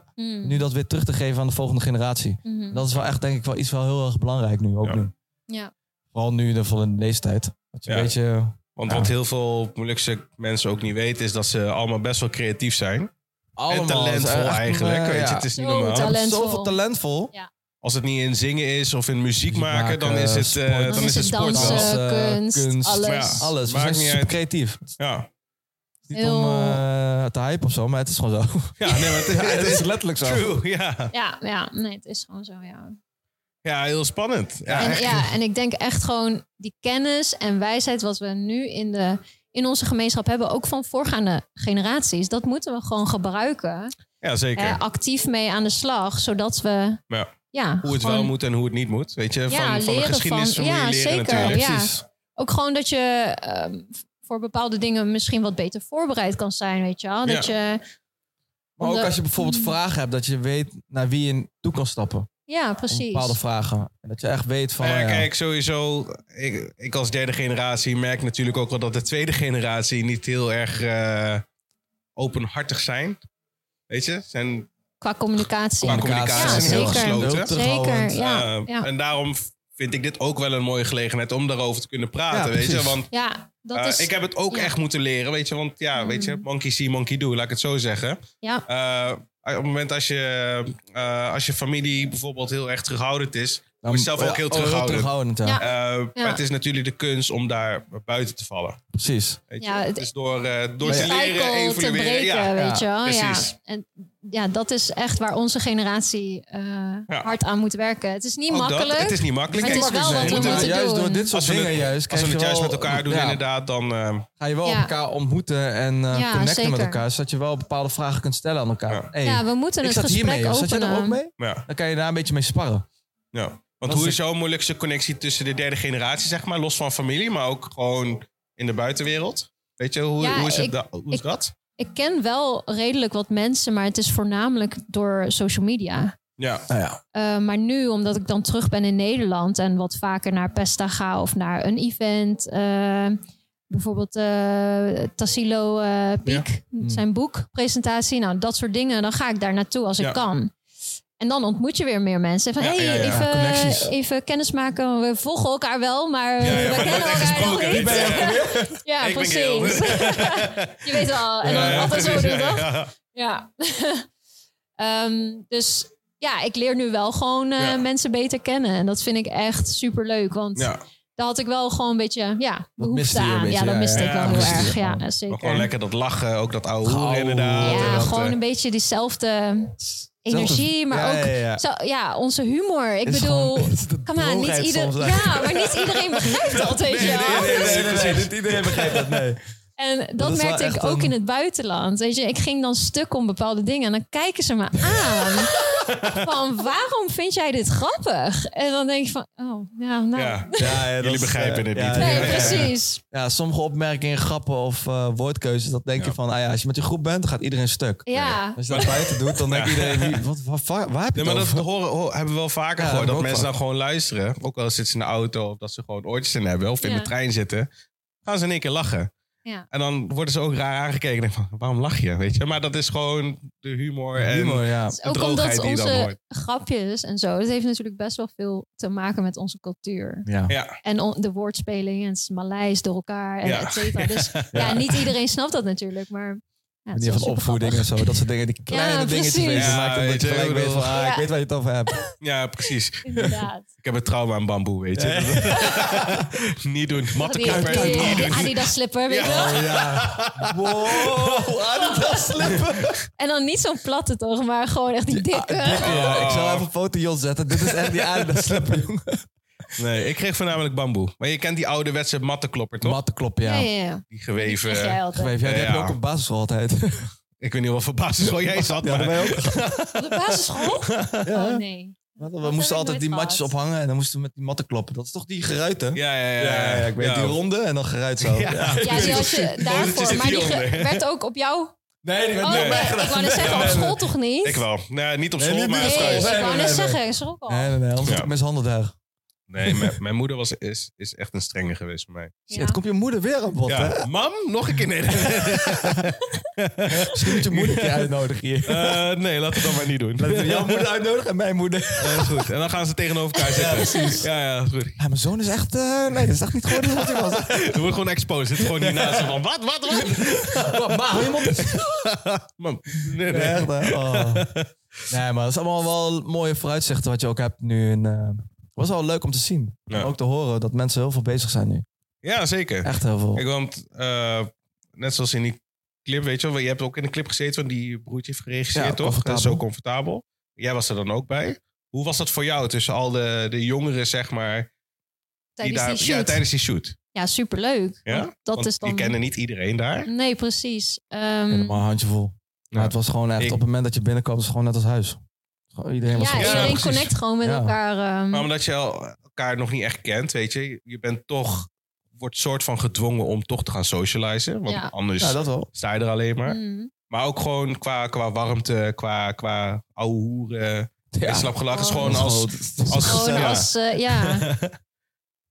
Mm.
nu dat weer terug te geven aan de volgende generatie.
Mhm.
Dat is wel echt, denk ik, wel iets wel heel erg belangrijk nu. Ook
Ja.
nu.
Ja.
Vooral nu, in ieder geval in deze tijd. Dat je
Ja.
een beetje...
Want
Ja.
wat heel veel Molukse mensen ook niet weten, is dat ze allemaal best wel creatief zijn.
Allemaal,
en talentvol
echt,
eigenlijk.
eh,
Weet je,
ja.
het is niet
Zo
normaal.
talent- Talentvol.
Zoveel talentvol.
Als het niet in zingen is of in muziek
Muziek
maken, dan
maken,
is het, eh,
sport.
dan is het sport.
dansen,
wel.
Alles, eh,
kunst,
kunst.
alles.
Maar ja.
Alles. We
Maakt
zijn
niet
super
uit.
creatief. Het is
Ja.
niet
Heel-
om eh, te hype of zo, maar het is gewoon zo.
ja, nee, maar het,
het is letterlijk zo.
True, ja.
Ja, ja, nee, het is gewoon zo, ja.
Ja, heel spannend. Ja,
en,
echt.
ja, en ik denk echt gewoon die kennis en wijsheid wat we nu in, de, in onze gemeenschap hebben, ook van voorgaande generaties, dat moeten we gewoon gebruiken.
ja zeker.
Hè, actief mee aan de slag, zodat we.
Ja.
Ja,
hoe het wel
gewoon-
moet en hoe het niet moet. Weet je, van,
Ja,
van de
leren
geschiedenis
van-
van, hoe
ja,
je leren
zeker,
natuurlijk.
ja. Ook gewoon dat je ehm, voor bepaalde dingen misschien wat beter voorbereid kan zijn, weet je wel. Dat je,
Maar ook
Omdat- Mm.
als je bijvoorbeeld vragen hebt, dat je weet naar wie je toe kan stappen. om
ja, precies.
Bepaalde vragen. En dat je echt weet van...
Nou ja,
ja,
kijk, sowieso, ik, ik als derde generatie merk natuurlijk ook wel dat de tweede generatie niet heel erg eh, openhartig zijn. Weet je, zijn
Qua communicatie.
qua communicatie
Ja,
zijn heel
zeker.
gesloten.
Zeker,
Heel terughoudend.
ja.
Eh,
ja.
En daarom vind ik dit ook wel een mooie gelegenheid om daarover te kunnen praten.
Ja,
weet je,
precies.
want
Ja, dat
eh,
is.
ik heb het ook
ja.
echt moeten leren. Weet je, want ja, weet je,
Mm.
monkey see, monkey do, laat ik het zo zeggen.
ja,
Eh, op het moment als je, eh, als je familie bijvoorbeeld heel erg terughoudend is.
Dan-
moet je zelf ook
ja,
heel
oh,
terughoudend.
ja.
Ja.
eh, Maar
Ja.
het is natuurlijk de kunst om daar buiten te vallen.
Precies.
Weet je?
Ja, het-
dus door, eh, door
Ja.
te leren,
cycle te
evolueren.
breken,
ja.
weet je wel. Ja,
precies.
En ja, dat is echt waar onze generatie eh, hard aan moet werken. Het is niet
Ook dat,
makkelijk.
het is niet makkelijk.
Maar het
Kijk,
is wel
we
wat we
moeten-
moeten
juist
doen.
door dit soort
Als we
dingen
het,
juist.
als we
krijg
het
je
juist
wel-
met elkaar doen,
ja,
inderdaad, dan... eh,
Ga je wel
Ja.
elkaar ontmoeten en eh,
Ja,
connecten
zeker.
met elkaar. Zodat je wel bepaalde vragen kunt stellen aan elkaar. Hey,
ja, we moeten
ik
het
zat
gesprek
hiermee.
openen.
Zat je daar ook mee?
ja,
Dan kan je daar een beetje mee sparren.
ja.
Dat
Want
is
hoe
de-
is jouw moeilijkste connectie tussen de derde generatie, zeg maar? Los van familie, maar ook gewoon in de buitenwereld. Weet je, hoe,
Ja,
hoe is, het
ik-
da- hoe is
ik-
dat?
Ik ken wel redelijk wat mensen, maar het is voornamelijk door social media.
Ja,
Nou ja.
Eh, maar nu, omdat ik dan terug ben in Nederland en wat vaker naar Pesta ga of naar een event. eh, bijvoorbeeld eh Tassilo eh, Piek,
Mm.
zijn boekpresentatie. Nou, dat soort dingen. Dan ga ik daar naartoe als
Ja.
ik kan. En dan ontmoet je weer meer mensen. Van,
Ja,
hey,
ja, ja,
connecties.
even, even kennis maken. We volgen elkaar wel, maar
ja,
Eh, we
maar nooit
kennen
echt
elkaar nog
gesproken,
niet.
weet je.
Ja,
Ik ben
precies. je weet wel. En dan
Ja, ja,
altijd zo
precies,
doen,
ja,
toch?
ja.
Ja. Ehm, dus ja, ik leer nu wel gewoon eh,
Ja.
mensen beter kennen. En dat vind ik echt super leuk. Want
Ja,
daar had ik wel gewoon een beetje ja,
miste
behoefte
je een
aan.
beetje,
ja, dat
ja,
miste
ja,
ik
ja,
wel
miste
heel
je
erg.
gewoon.
Ja,
maar
zeker.
gewoon lekker dat lachen, ook dat oude hoer
Gauw.
inderdaad.
ja,
dat,
gewoon
eh,
een beetje diezelfde energie, maar
Ja,
ook
ja, ja.
Zo, ja, onze humor. Ik
Is
bedoel,
gewoon- is de
come on, niet
droogheid
ieder,
soms
ja,
eigenlijk.
maar niet iedereen begrijpt dat, weet je wel. Dus-
Niet iedereen begrijpt dat, nee.
En dat,
is wel
merkte ik
echt
ook
een-
in het buitenland. Weet je, ik ging dan stuk om bepaalde dingen en dan kijken ze me aan. van waarom vind jij dit grappig? En dan denk ik van, oh, ja, nou.
ja.
Ja, ja, dat
Jullie
is,
begrijpen
eh,
het
ja,
niet.
Nee,
ja, ja.
precies.
Ja, sommige opmerkingen, grappen of eh, woordkeuzes, dat denk je van, ah ja, als je met die groep bent, dan gaat iedereen stuk.
Ja.
Als je dat buiten doet, dan denkt iedereen, wie- wat, wat, waar, waar heb je
Nee,
het
maar dat
over?
horen, ho- hebben we wel vaker
Ja,
gehoord. Dat
dat ook
mensen
wel.
dan gewoon luisteren. Ook al zitten ze in de auto of dat ze gewoon oortjes in hebben of in
Ja.
de trein zitten. Gaan ze in één keer lachen.
Ja.
En dan worden ze ook raar aangekeken. Ik Denk van, waarom lach je? Weet je? Maar dat is gewoon de humor. En,
Humor, ja.
Dus
De
ook
droogheid
omdat
die je dan
onze
hoort.
grapjes en zo, dat heeft natuurlijk best wel veel te maken met onze cultuur.
Ja.
Ja,
En on- de woordspeling en het is Maleis door elkaar en
Ja.
et cetera. Dus ja. niet iedereen snapt dat natuurlijk, maar... Ja, het is
Manier
wel
van
supergrappig.
opvoeding en zo, dat soort dingen, die kleine dingetjes
precies.
wezen,
Ja,
maakt dat
weet
je
je,
gelijk
ik
weet van,
bedoel-
ah,
Ja.
ik weet waar je het over hebt.
ja, precies.
Inderdaad.
Ik heb een trauma aan bamboe, weet je. niet doen.
Die,
Mattenkamer,
die-
niet
Ah, die
doen.
Adidas slipper, weet je wel?
Oh ja. Wow, Adidas slippen.
En dan niet zo'n platte toch, maar gewoon echt die dikke.
Ja, ik zal even een foto Jon zetten. Dit is echt die Adidas slippen, jongen.
Nee, ik kreeg voornamelijk bamboe. Maar je kent die ouderwetse mattenklopper, toch?
Mattenklop,
Ja,
ja.
ja, ja.
die
Die
geweven.
krijg jij altijd.
Geweef, ja, die heb je
Ja.
ook op basisschool altijd.
Ik weet niet wat voor basis waar jij zat,
Ja,
maar...
dat wij ook.
Op de basisschool? Oh nee.
We
heb ik
moesten
nooit
altijd die matjes
gehad.
ophangen en dan moesten we met die matten kloppen. Dat is toch die geruit, hè?
Ja, ja, ja.
ik weet die ronde en dan geruit zo.
Ja.
Ja.
Ja, die had je daarvoor. Maar die ge- werd ook op jou...
Nee, die werd
Oh
niet
nee,
op mij
ik
gedaan.
wou net zeggen, op school toch niet?
Ik wel. Nou, niet op
Nee,
school,
niet
maar
op
Nee,
school.
ik
thuis.
Nee,
wou
nee,
net
nee.
zeggen, ik schrok al.
Nee, nee, nee, anders
Ja.
had ik mishandeld daar.
Nee, mijn, mijn moeder was, is, is echt een strenge geweest voor mij.
Shit, komt je moeder weer aan bod, hè?
Ja. Mam, nog een keer. Nee,
Misschien moet je moeder een keer uitnodigen hier.
Eh, nee, laat het dan maar niet doen.
Laten we jouw moeder uitnodigen en mijn moeder.
Ja, is goed. En dan gaan ze tegenover elkaar zitten. Ja, precies. Ja, ja, is goed.
Ja, mijn zoon is echt... eh, nee, dat is echt niet geworden wat hij was.
Dan wordt gewoon exposed. Zit gewoon hier naast ze van, wat, wat, wat?
Wil je mond-
Mam, nee,
Nee,
nee.
echt, hè? Oh. Nee, maar dat is allemaal wel mooie vooruitzichten wat je ook hebt nu. En, eh, was wel leuk om te zien.
Ja.
En Ook te horen dat mensen heel veel bezig zijn nu.
Ja, zeker.
Echt heel veel.
Ik want eh, net zoals in die clip, weet je wel, je hebt ook in de clip gezeten van die broertje heeft geregisseerd,
Ja,
toch?
comfortabel.
Dat is zo comfortabel. Jij was er dan ook bij. Hoe was dat voor jou tussen al de, de jongeren, zeg maar,
Tijdens
daar,
die shoot.
Ja,
Ja,
tijdens die shoot?
superleuk.
Ja?
Want dat
Want
is dan...
Je kende niet iedereen daar.
Nee, precies. Ehm,
Helemaal een handjevol. Maar
Ja.
het was gewoon echt,
Ik-
op het moment dat je binnenkwam, was het gewoon net als huis. Gewoon Iedereen was
ja,
gewoon-
Ja,
iedereen
precies.
connect gewoon met
Ja.
elkaar. ehm,
Maar omdat je al elkaar nog niet echt kent, weet je, je bent toch, wordt soort van gedwongen om toch te gaan socializen. Want
Ja.
anders
Ja, dat wel.
sta je er alleen maar.
mm.
Maar ook gewoon qua, qua warmte, qua, qua ouwe hoeren.
Ja.
En slap gelachen is
Oh.
gewoon als... als-
Gewoon
Ja.
als... eh, ja,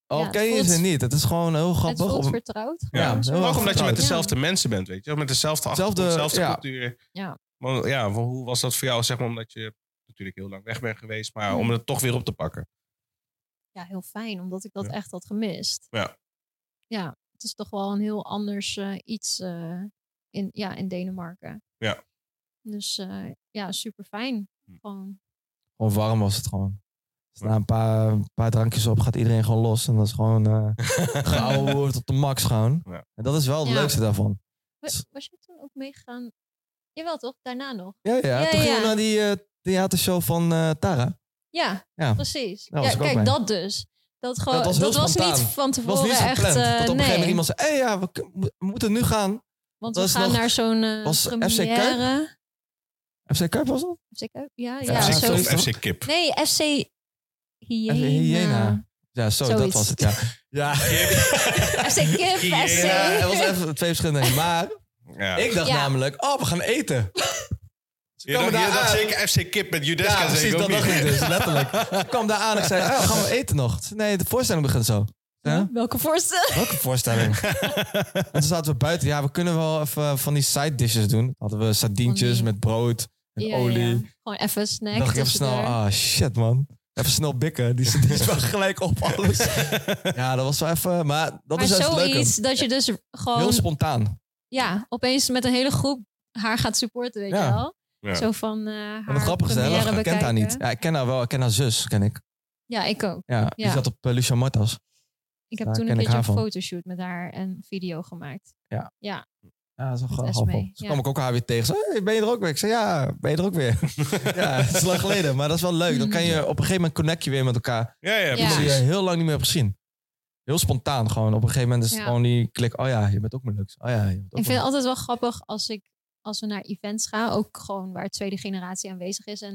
Al
Ja,
ken
het
je ze
voelt-
niet. Het is gewoon heel
het
grappig.
voelt
Op-
vertrouwd.
Ja,
Ja, heel
maar ook
erg
omdat je met
vertrouwd.
dezelfde mensen bent, weet je. wel, Met dezelfde achtergrond,
Zelfde-
dezelfde
ja.
cultuur.
Ja.
Want, ja, want hoe was dat voor jou, zeg maar, omdat je natuurlijk heel lang weg bent geweest, maar
Hmm.
om het toch weer op te pakken.
Ja, heel fijn, omdat ik dat
Ja.
echt had gemist.
Ja.
Ja, het is toch wel een heel anders eh, iets eh, in, ja, in Denemarken.
Ja.
Dus eh, ja, super fijn.
Hm.
Gewoon,
Gewoon warm was het gewoon. Dus na een paar, een paar drankjes op gaat iedereen gewoon los. En dat is gewoon eh geouwe woord op de max gewoon.
Ja.
En dat is wel het
Ja.
leukste daarvan.
was, was je toen ook meegegaan? Jawel toch, daarna nog?
Ja, ja.
Ja,
Toen gingen
ja.
we naar die eh, theatershow van eh, Tara.
Ja,
Ja.
precies.
Daar was
Ja,
ik ook
kijk,
bij.
dat dus. Dat, gewoon,
Dat was
dat,
heel
was niet
spontaan.
van
Het was
tevoren
niet zo
echt...
gepland.
eh,
dat op een
nee,
gegeven moment iemand zei, hé ja, we, k- we moeten nu gaan.
want we
dat is
gaan
nog-
naar zo'n eh
was FC Kuip?
première.
FC Kuip was dat?
FC Kuip? Ja, ja,
Ja,
FC,
zo.
zoiets
of FC Kip.
Nee, FC Hyena.
Hyena. Ja, zo, dat
Zoiets.
was het, ja. Ja,
FC Kip,
Hyena.
FC...
ja het was even twee verschillende dingen. Maar
Ja.
ik dacht
Ja.
namelijk, oh, we gaan eten.
je dacht,
kwamen
je
daar
dacht
aan.
zeker FC Kip met Judeska.
Ja,
zeg ik
precies, dat
ook
dacht
niet.
ik dus, letterlijk. Ik kwam daar aan en ik zei, oh, gaan we eten nog? Ze zei, Nee, de voorstelling begint zo. Ja?
Welke voorstel?
Welke voorstelling? en toen zaten we buiten, ja, we kunnen wel even van die side dishes doen. Hadden we sardientjes
Van die-
met brood en olie.
Gewoon even een snack.
dacht ik even snel,
tussendoor.
ah shit man. Even snel bikken, die zit die is wel gelijk op alles. ja, dat was wel even, maar dat
maar
is juist leuk.
zoiets dat je dus
Heel
gewoon
spontaan.
ja, opeens met een hele groep haar gaat supporten, weet
Ja.
je wel.
Ja.
Zo van eh haar
En het grappige is, hè,
première
Laura kent haar niet.
bekijken.
Ja, ik ken haar wel, ik ken haar zus, ken ik.
Ja, ik ook.
Ja, Die
Ja.
zat op eh, Lucia Martas.
Ik heb
Daar
toen
ken
een
ik
keertje
haar
een
van.
fotoshoot met haar en video gemaakt.
Ja, dat is wel
Met
grappig.
Esmee,
Toen
ja.
kwam ik ook haar weer tegen. Ze zei, hey, ben je er ook weer? Ik zei, ja, ben je er ook weer? ja, het is lang geleden, maar dat is wel leuk. Dan kan je op een gegeven moment connect je weer met elkaar.
Ja, ja,
Mm. Ja.
precies.
Die je heel lang niet meer hebt gezien. Heel spontaan gewoon. Op een gegeven moment is het
Ja.
gewoon die klik. Oh ja, je bent ook mijn lux. Oh ja, je bent ook
Ik vind
mijn
het altijd wel grappig als ik als we naar events gaan, ook gewoon waar tweede generatie aanwezig is. En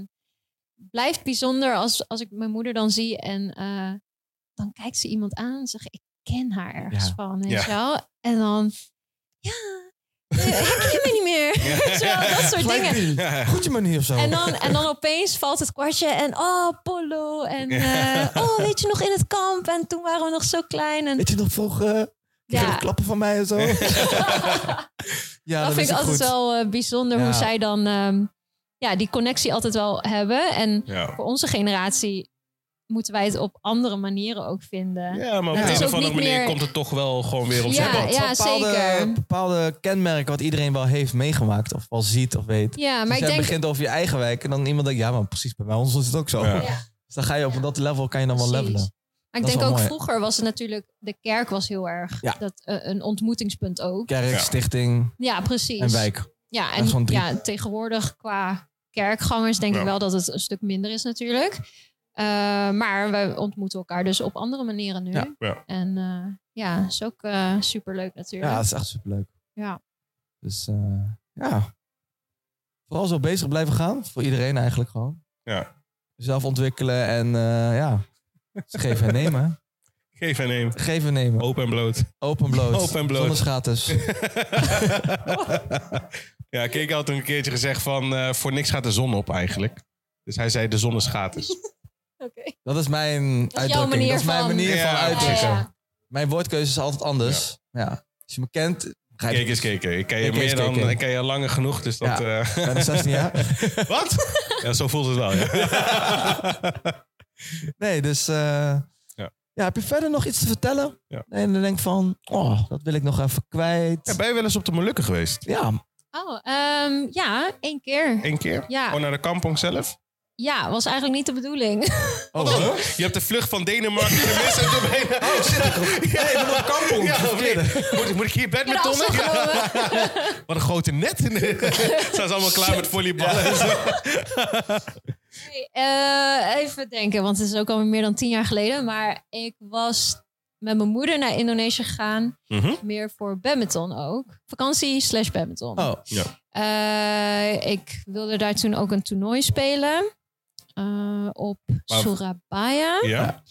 het blijft bijzonder als, als ik mijn moeder dan zie en eh, dan kijkt ze iemand aan en zegt ik ken haar ergens
Ja.
van, weet
Ja.
je wel? En dan, ja, eh, herken je me niet meer? Weet je wel, dat soort dingen.
Gelijk die.
Ja.
Goed je manier of zo.
En dan, en dan opeens valt het kwartje en oh, Polo. En eh, oh, weet je nog in het kamp? En toen waren we nog zo klein. En,
Weet je nog vroeger? eh,
Ja.
Ja. klappen van mij en zo. ja,
dat vind ik
is
altijd
goed.
wel eh, bijzonder
Ja.
hoe zij dan ehm, ja, die connectie altijd wel hebben. En
Ja.
voor onze generatie moeten wij het op andere manieren ook vinden.
Ja, maar op
Het
de
is
een
ook
of andere
niet
manier
meer-
komt het toch wel gewoon weer op
Ja,
zijn pad.
ja.
bepaalde,
zeker.
bepaalde kenmerken wat iedereen wel heeft meegemaakt. Of wel ziet of weet.
Ja,
Dus
maar ik
jij
denk...
begint over je eigen wijk. En dan iemand denkt, ja maar precies, bij mij ons is het ook zo.
Ja.
Dus dan ga je op
Ja.
dat level, kan je dan wel
Precies.
levelen.
Maar
Dat
ik
is
denk
wel
ook
mooi.
vroeger was het natuurlijk... De kerk was heel erg
Ja.
dat, eh, een ontmoetingspunt ook.
Kerk,
Ja.
stichting
Ja, precies.
en wijk.
Ja,
Dat is gewoon
en
drie.
ja, tegenwoordig qua kerkgangers denk
Ja.
ik wel dat het een stuk minder is natuurlijk. Eh, maar we ontmoeten elkaar dus op andere manieren nu.
Ja.
Ja.
En eh, ja, is ook eh, superleuk natuurlijk.
Ja, dat is echt superleuk.
Ja.
Dus eh, ja. Vooral zo bezig blijven gaan. Voor iedereen eigenlijk gewoon.
Ja.
Zelf ontwikkelen en eh, ja. Dus geven en nemen. hè.
Geef en neem.
Geven en nemen.
Open en bloot.
Open bloot.
Open bloot.
Zonder schates.
ja, Keke had toen een keertje gezegd van... eh, voor niks gaat de zon op eigenlijk. Dus hij zei, de zon is gratis.
Dat is mijn uitdrukking.
manier
dat is mijn
van-
manier
Ja,
van
precies,
uitdrukken.
ja.
Mijn woordkeuze is altijd anders. Ja. Als je me kent, begrijp
Kijk eens,
je.
kijk. Ik ken je
Kijk eens,
meer dan.
kijk.
Ik ken je langer genoeg, dus dat. eh,
Bijna 16 jaar.
wat? Ja, zo voelt het wel. Ja.
Nee, dus... eh, ja. heb je verder nog iets te vertellen?
Ja.
En dan denk ik van, oh, dat wil ik nog even kwijt.
Ja, ben je wel eens op de Molukken geweest?
Ja,
Oh, ehm, ja, één keer.
Eén keer?
Ja.
Oh, naar de kampong zelf?
Ja, was eigenlijk niet de bedoeling.
Oh,
Je hebt de vlucht van Denemarken gemist en toen ben je... Oh, shit. Ja, ik ben op kampong. moet, moet ik hier bed met tonnen?
afgenomen.
Wat een grote net. Zijn ze allemaal klaar met volleyballen? en zo.
Nee, eh, even denken, want het is ook al meer dan tien jaar geleden. Maar ik was met mijn moeder naar Indonesië gegaan.
Mhm.
Meer voor badminton ook. Vakantie slash badminton.
oh.
Eh, ik wilde daar toen ook een toernooi spelen. eh, op
Maar-
Surabaya.
Ja.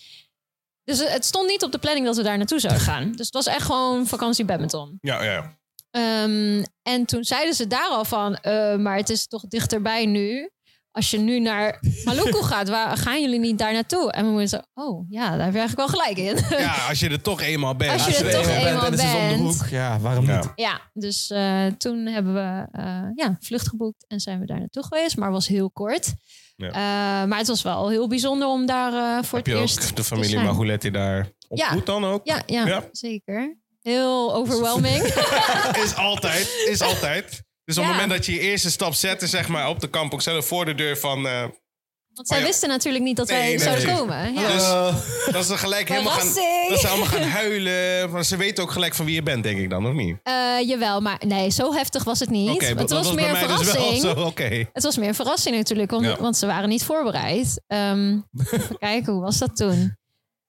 Dus het stond niet op de planning dat we daar naartoe zouden gaan. Dus het was echt gewoon vakantie badminton.
Ja, ja.
Ehm, en toen zeiden ze daar al van, eh, maar het is toch dichterbij nu. Als je nu naar Maluku gaat, waar gaan jullie niet daar naartoe? En we moesten zo, oh ja, daar heb je eigenlijk wel gelijk in.
Ja, als je er toch eenmaal bent.
Als je er
Ja,
toch
ja.
eenmaal
en het is om de
bent.
hoek. Ja, waarom
Ja.
niet?
ja, dus eh, toen hebben we eh ja, vlucht geboekt en zijn we daar naartoe geweest. Maar was heel kort.
Ja.
Eh, maar het was wel heel bijzonder om daar eh, voor
Heb je
het eerst
ook de
te
familie
zijn.
Maguletti daar ontmoet dan ook?
Ja, ja,
Ja.
zeker. Heel overwhelming.
Is altijd. Is altijd. Dus op
Ja.
het moment dat je je eerste stap zette, zeg maar, op de kampong zelf, voor de deur van... eh,
Want zij
Oh ja.
wisten natuurlijk niet dat
Nee,
wij
nee,
zouden
precies.
komen. Ja.
Dus dat ze gelijk helemaal gaan...
Verrassing!
Dat ze allemaal gaan huilen. Want ze weten ook gelijk van wie je bent, denk ik dan, of niet?
Eh, jawel, maar nee, zo heftig was het niet.
Oké,
het
dat
was, meer een
bij mij dus
verrassing.
wel zo. Oké.
Het was meer een verrassing natuurlijk, want,
Ja.
want ze waren niet voorbereid. Ehm, even kijken, hoe was dat toen?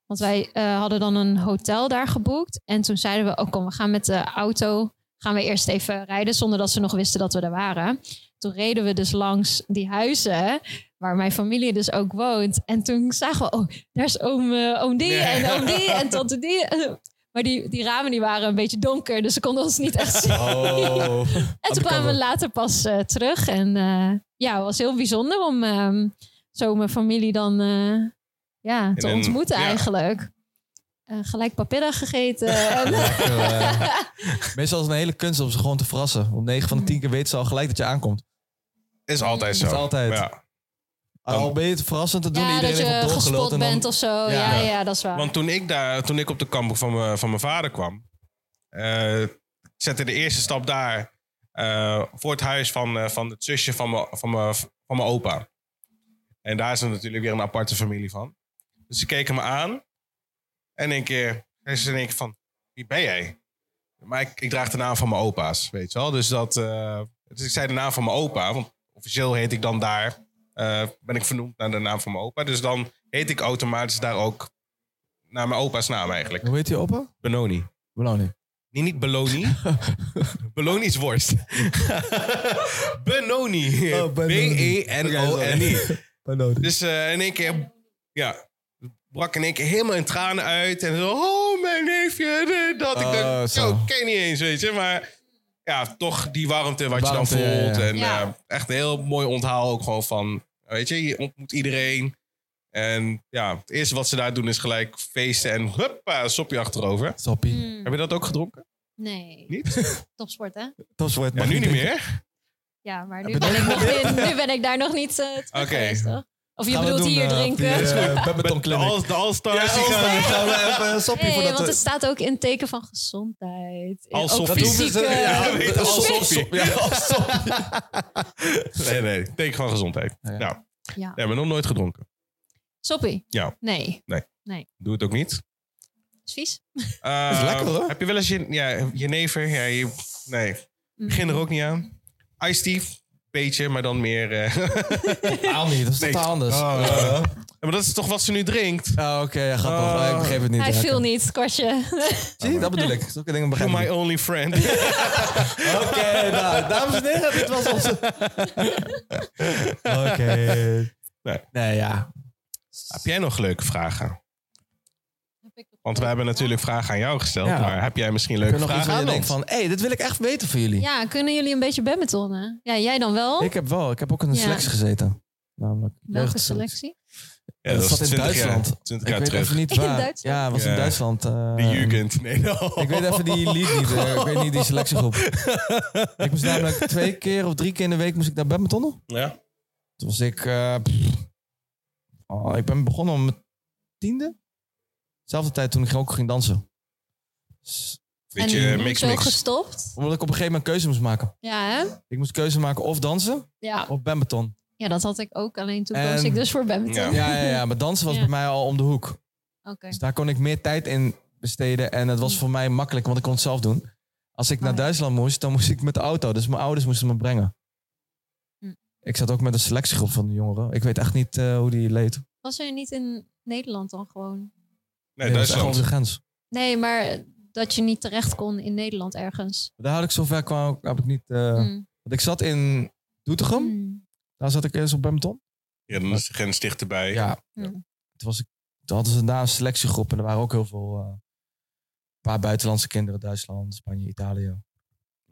Want wij eh, hadden dan een hotel daar geboekt. En toen zeiden we, oh kom, we gaan met de auto... gaan we eerst even rijden, zonder dat ze nog wisten dat we er waren. Toen reden we dus langs die huizen, waar mijn familie dus ook woont. En toen zagen we, oh, daar is oom, eh, oom die
Nee.
en oom die en tante die. Maar die, die ramen die waren een beetje donker, dus ze konden ons niet echt zien.
Oh.
En toen kwamen we later pas eh, terug. En eh, ja, het was heel bijzonder om ehm, zo mijn familie dan eh, ja, te
een-
ontmoeten
ja.
eigenlijk. Eh, gelijk papilla gegeten. en,
Lekker, eh. Meestal is het een hele kunst om ze gewoon te verrassen. Om 9 van de 10 keer weten ze al gelijk dat je aankomt.
Is altijd zo.
Is altijd.
Ja. Oh.
Al ben je het verrassend te doen,
ja, dat
iedereen
je
heeft al
gespot
doorgeluld. En dan,
bent of zo. Ja,
Ja.
ja. dat is waar.
Want toen ik, daar, toen ik op de kampong van, mijn- van mijn vader kwam, eh, zette de eerste stap daar eh, voor het huis van, eh, van het zusje van mijn, van, mijn, van mijn opa. En daar is er natuurlijk weer een aparte familie van. Dus ze keken me aan en in één keer zei ze in één keer van, wie ben jij? Maar ik, ik draag de naam van mijn opa's, weet je wel. Dus, dat, eh, dus ik zei de naam van mijn opa, want officieel heet ik dan daar, eh, ben ik vernoemd naar de naam van mijn opa. Dus dan heet ik automatisch daar ook naar mijn opa's naam eigenlijk.
Hoe heet die opa?
Benoni.
Belangrijk.
Nee, niet Beloni. Beloni is worst. Benoni. E
Oh, Benoni.
B-E-N-O-N-I.
Belangrijk.
Dus eh, in één keer, ja, brak in één keer helemaal in tranen uit. En zo, oh, mijn neefje, dit, dat. ik
Oh,
dacht,
zo.
zo, ken je niet eens, weet je. Maar ja, toch die warmte wat
Warmte,
je
ja,
dan voelt.
ja.
En
Ja.
eh, echt een heel mooi onthaal ook gewoon van, weet je, je ontmoet iedereen. En ja, het eerste wat ze daar doen is gelijk feesten en huppa, sopje achterover.
Soppie.
Hmm,
Heb je dat ook gedronken?
nee.
Niet?
Topsport, hè?
Topsport.
Ja,
mag
nu niet
denken.
meer.
Ja, maar
Heb je
nu ben,
dat
ik nog, in- nu ben ik daar nog niet eh terug
Oké.
geweest, toch? Of je
Gaan we
bedoelt
doen,
hier
eh, op die,
drinken?
eh, Badminton
Met de
Clinic.
All- de All-Stars.
Ja,
die gaan-
All-Star. Gaan we even een soppie
Nee,
voordat
want
we-
het staat ook in teken van gezondheid. Eh,
Alsof
ook
je-
Dat hoeven ze.
fysieke-
Ja,
weet
weet
eh,
je, als
je.
soppie.
Ja, als soppie.
Nee, nee. Teken van gezondheid.
Ja.
Ja. Nou,
Ja.
nee, maar nog nooit gedronken.
Soppie?
Ja.
Nee.
Doe het ook niet.
Is vies?
Eh,
Dat is lekker, hoor.
Heb je wel eens je, ja, je never? Ja, je, nee.
Mm.
Begin er ook niet aan. Ice tea. Beetje, maar dan meer. eh,
Haal niet, dat is
Nee.
totaal anders.
Oh,
Eh,
ja. maar dat is toch wat ze nu drinkt?
Ah, Oké, ja, gaat nog.
Oh.
ik begreep het niet.
Hij
ja,
viel
oké.
niet, kwartje.
Zie, dat bedoel ik. Zulke dingen
To
begrijp ik
my
niet.
only friend.
Oké, nou, dames en heren, dit was onze... Oké.
Nee.
Nee, ja.
heb jij nog leuke vragen?
Heb ik-
Want we hebben natuurlijk vragen aan jou gesteld.
Ja.
Maar heb jij misschien
Heb
leuke
je nog iets
vragen
waar je
aan
denkt
ons?
van... Hé, hey, dit wil ik echt weten van jullie.
Ja, kunnen jullie een beetje badmintonnen? Ja, jij dan wel?
Ik heb wel. Ik heb ook in de
Ja.
selectie gezeten. Namelijk.
Welke
jeugdselectie.
selectie?
Ja,
dat zat in
20 jaar-
Duitsland.
20
Ik
jaar
weet
terug.
even niet
In
waar.
Duitsland?
Ja, het was
Ja.
in Duitsland. eh,
De Jugend. Nee,
Ik weet even die lied niet. eh, ik weet niet die selectiegroep. ik moest namelijk twee keer of drie keer in de week moest ik naar badmintonnen.
Ja.
Toen was ik... eh, pff, oh, ik ben begonnen om mijn tiende. Zelfde tijd toen ik ook ging dansen. Dus,
Beetje
en
eh, mix
zo
mix.
gestopt.
omdat ik op een gegeven moment een keuze moest maken.
Ja, hè?
Ik moest keuze maken of dansen
Ja.
of badminton.
ja, dat had ik ook. Alleen toen
En-
koos ik dus voor badminton.
Ja.
Oké.
Ja, ja, ja. Maar dansen was
Ja.
bij mij al om de hoek. Dus daar kon ik meer tijd in besteden. En het was voor mij makkelijk, want ik kon het zelf doen. Als ik
Oh,
naar
ja.
Duitsland moest, dan moest ik met de auto. Dus mijn ouders moesten me brengen.
Hm.
Ik zat ook met een selectiegroep van de jongeren. Ik weet echt niet eh, hoe die leed.
Was er niet in Nederland dan gewoon?
Nee,
dat is echt
Duitsland.
onze grens.
Nee, maar dat je niet terecht kon in Nederland ergens.
Daar had ik zover kwam, heb ik niet... eh,
Mm.
Want ik zat in Doetinchem.
Mm.
Daar zat ik eerst op badminton.
Ja, dan is de grens dichterbij.
Ja.
Hm.
Toen, was ik, toen hadden ze daar een selectiegroep. En er waren ook heel veel... eh, een paar buitenlandse kinderen. Duitsland, Spanje, Italië.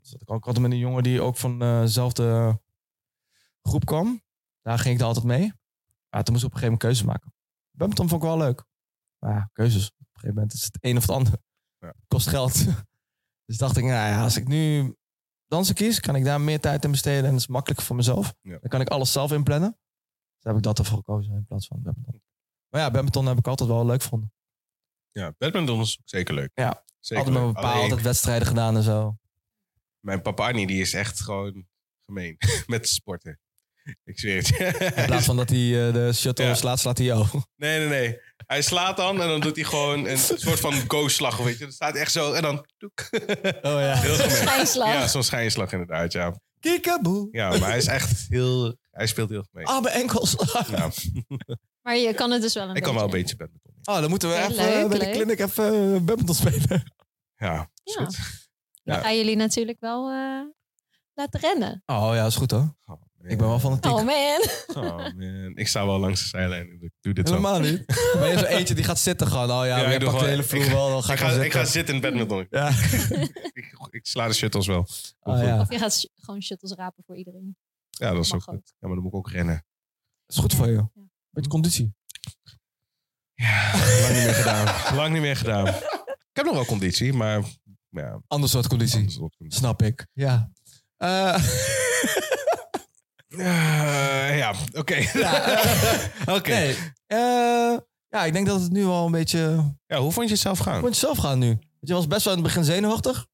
Dus dat ik ook altijd met een jongen die ook van eh, dezelfde groep kwam. Daar ging ik dan altijd mee. Maar toen moest ik op een gegeven moment keuze maken. Badminton vond ik wel leuk. Maar ja, keuzes. Op een gegeven moment is het een of het ander.
Ja.
Kost geld. dus dacht ik, nou ja, als ik nu dansen kies, kan ik daar meer tijd in besteden. En dat is makkelijker voor mezelf.
Ja.
Dan kan ik alles zelf inplannen. Dus heb ik dat ervoor gekozen in plaats van badminton. Maar ja, badminton heb ik altijd wel leuk gevonden.
Ja, badminton is ook zeker leuk.
Ja.
Zeker
altijd met
leuk.
mijn pa,
Alleen,
altijd wedstrijden gedaan en zo.
Mijn papa Annie, die is echt gewoon gemeen met sporten. Ik zweer het.
In plaats van dat hij eh, de shuttle
Ja.
slaat, slaat hij jou.
Nee, nee, nee. Hij slaat dan en dan doet hij gewoon een soort van go-slag, weet je. Dan staat hij echt zo en dan... toek.
Oh ja.
Heel gemeen.
Schijnslag.
Ja, zo'n schijnslag inderdaad, ja.
Kiekeboe.
Ja, maar hij is echt heel... Hij speelt heel gemeen.
Oh,
Ah, mijn enkels.
Nou,
Maar je kan het dus wel een
ik
beetje.
kan wel een beetje badminton.
Oh, dan moeten we
Ja,
even
leuk,
bij de
leuk.
clinic even eh, badminton spelen.
Ja, is
Ja.
goed.
Dan gaan jullie natuurlijk wel eh, laten rennen.
Oh ja, is goed hoor.
Oh, man.
Ik ben wel fanatiek.
Oh man.
Oh, man. Ik sta wel langs de zijlijn. Ik doe dit wel.
Helemaal niet. Maar je hebt zo eentje die gaat zitten gewoon. Oh ja,
ik
maar je
doe
pakt de
gewoon-
hele vloer
ik-
wel. Dan ga ik,
Ik
wel
ga, ik
zitten.
ga zitten in badminton.
Ja.
Ik, ik sla de shuttles wel.
Oh, ja.
Of je gaat sh- gewoon shuttles rapen voor iedereen.
Ja, dat is ook
Mag ook.
goed. Ja, maar dan moet ik ook rennen.
Is goed voor je.
Ja.
Beetje conditie.
Ja, lang niet meer gedaan. Lang niet meer gedaan. Ik heb nog wel conditie, maar ja,
Ander soort conditie.
anders wordt het-
Snap ik. Ja. Eh,
Eh, ja, oké.
ja, eh,
Oké.
nee. Eh, ja, ik denk dat het nu al een beetje...
Ja, hoe vond je het zelf gaan?
Je moet zelf gaan nu. Want je was best wel in het begin zenuwachtig.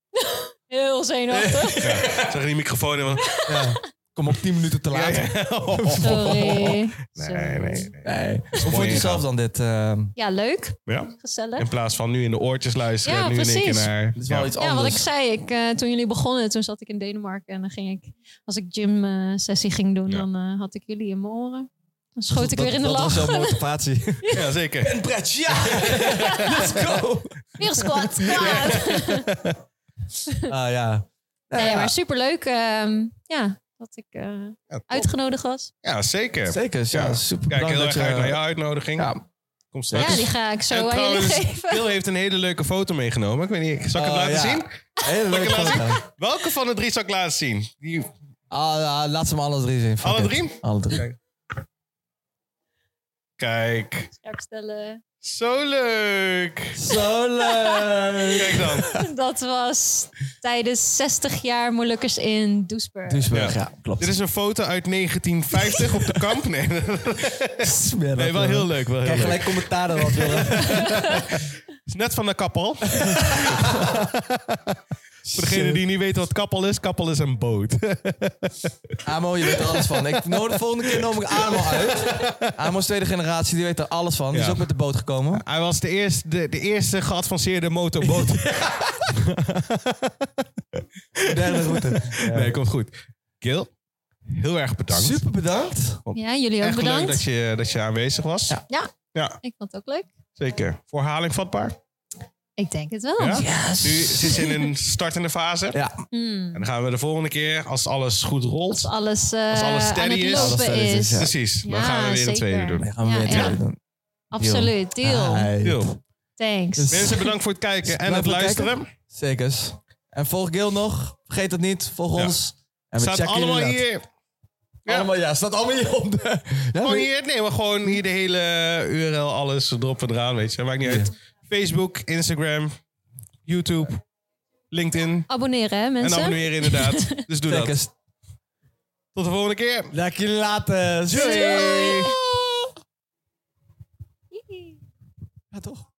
Heel zenuwachtig.
Ja, zag je die microfoon? En wat-
Ja. Kom op 10 minuten te laat.
Ja, ja. Oh.
Sorry.
Nee, nee, nee.
Nee. Hoe vond je
ingaan.
zelf dan dit? eh,
Ja, leuk.
Ja.
Gezellig.
In plaats van nu in de oortjes luisteren.
Ja,
en nu in één keer
precies.
naar...
dit is wel
Ja.
iets
Ja,
anders.
wat ik zei, ik, eh, toen jullie begonnen, toen zat ik in Denemarken en dan ging ik, als ik gym-sessie ging doen,
Ja.
dan eh, had ik jullie in mijn oren. Dan schoot ik
Dat-
weer in de
dat
lach.
was jouw motivatie.
Ja, zeker.
Een brett, ja! Let's go!
Weer squat, squat.
Ah ja.
Nee,
Ja,
maar superleuk ehm, ja, dat ik eh,
Ja, top.
uitgenodigd was.
Ja, zeker.
Zeker, ja,
Ja.
super
Kijk heel
belangrijk.
erg uit naar jouw uitnodiging.
Ja.
Kom straks.
Ja, die ga ik zo
dus- en
aan
trouwens,
jullie geven.
Phil heeft een hele leuke foto meegenomen. Ik weet niet, zal ik het
Oh,
laten
ja.
zien?
Hele leuke
Lekker
foto.
Welke van de drie zal ik laten zien? Die,
Ah, ja, laat ze maar alle drie zien. Fuck
Alle
it.
drie?
Alle drie.
Kijk. kijk,
Scherp stellen.
zo leuk.
Zo leuk!
Kijk dan.
Dat was tijdens 60 jaar Molukkers in Doesburg.
Duisburg,
Ja.
ja, klopt.
Dit is een foto uit 1950 op de kamp. Nee,
Smerig,
nee wel
jongen.
heel leuk. Wel heel leuk.
Krijg eh, gelijk commentaar erop, jongen.
Is Net van de kappel. Voor degene die niet weten wat kappel is, kappel is een boot.
Amo, je weet er alles van. Ik nodig de volgende keer noem ik Amo uit. Amo is tweede generatie, die weet er alles van. Die is
Ja.
ook met de boot gekomen.
Hij was de eerste, de, de eerste geadvanceerde motorboot.
Derde route.
Nee, komt goed. Gil, heel erg bedankt.
Super bedankt.
Ja, jullie ook
Echt leuk
bedankt.
dat je, dat je aanwezig was.
Ja.
Ja.
Ja,
Ik vond het ook leuk.
zeker. Voor herhaling vatbaar.
Ik denk het wel.
Ja? Nu zit ze in een startende fase.
Ja.
Hmm.
En dan gaan we de volgende keer, als alles goed rolt.
Als alles, eh,
Als alles steady
aan het
is.
lopen
Als
alles steady
is.
is, ja.
Precies, dan
Ja,
gaan we weer een
zeker.
tweede doen.
Dan gaan we
Ja,
weer
ja.
twee doen.
Absoluut. Deal.
Hi.
Yo.
Thanks.
Dus-
Mensen, bedankt voor het kijken en
Bedankt
het
voor het
luisteren.
Zekers. En volg Gil nog. Vergeet het niet. Volg
Ja.
ons. En
Het
we
staat
checken
allemaal
jullie later.
hier. Ja.
Allemaal, ja, staat allemaal hier op de... Ja,
Gewoon
weet-
hier, nee, maar gewoon hier de hele URL, alles erop en eraan, weet je. Maakt niet uit. Facebook, Instagram, YouTube, LinkedIn.
Abonneren, hè,
En
mensen?
abonneren inderdaad. Dus doe dat.
Check eens.
Tot de volgende keer.
Laat ik jullie laten.
Doei.
Ja, toch?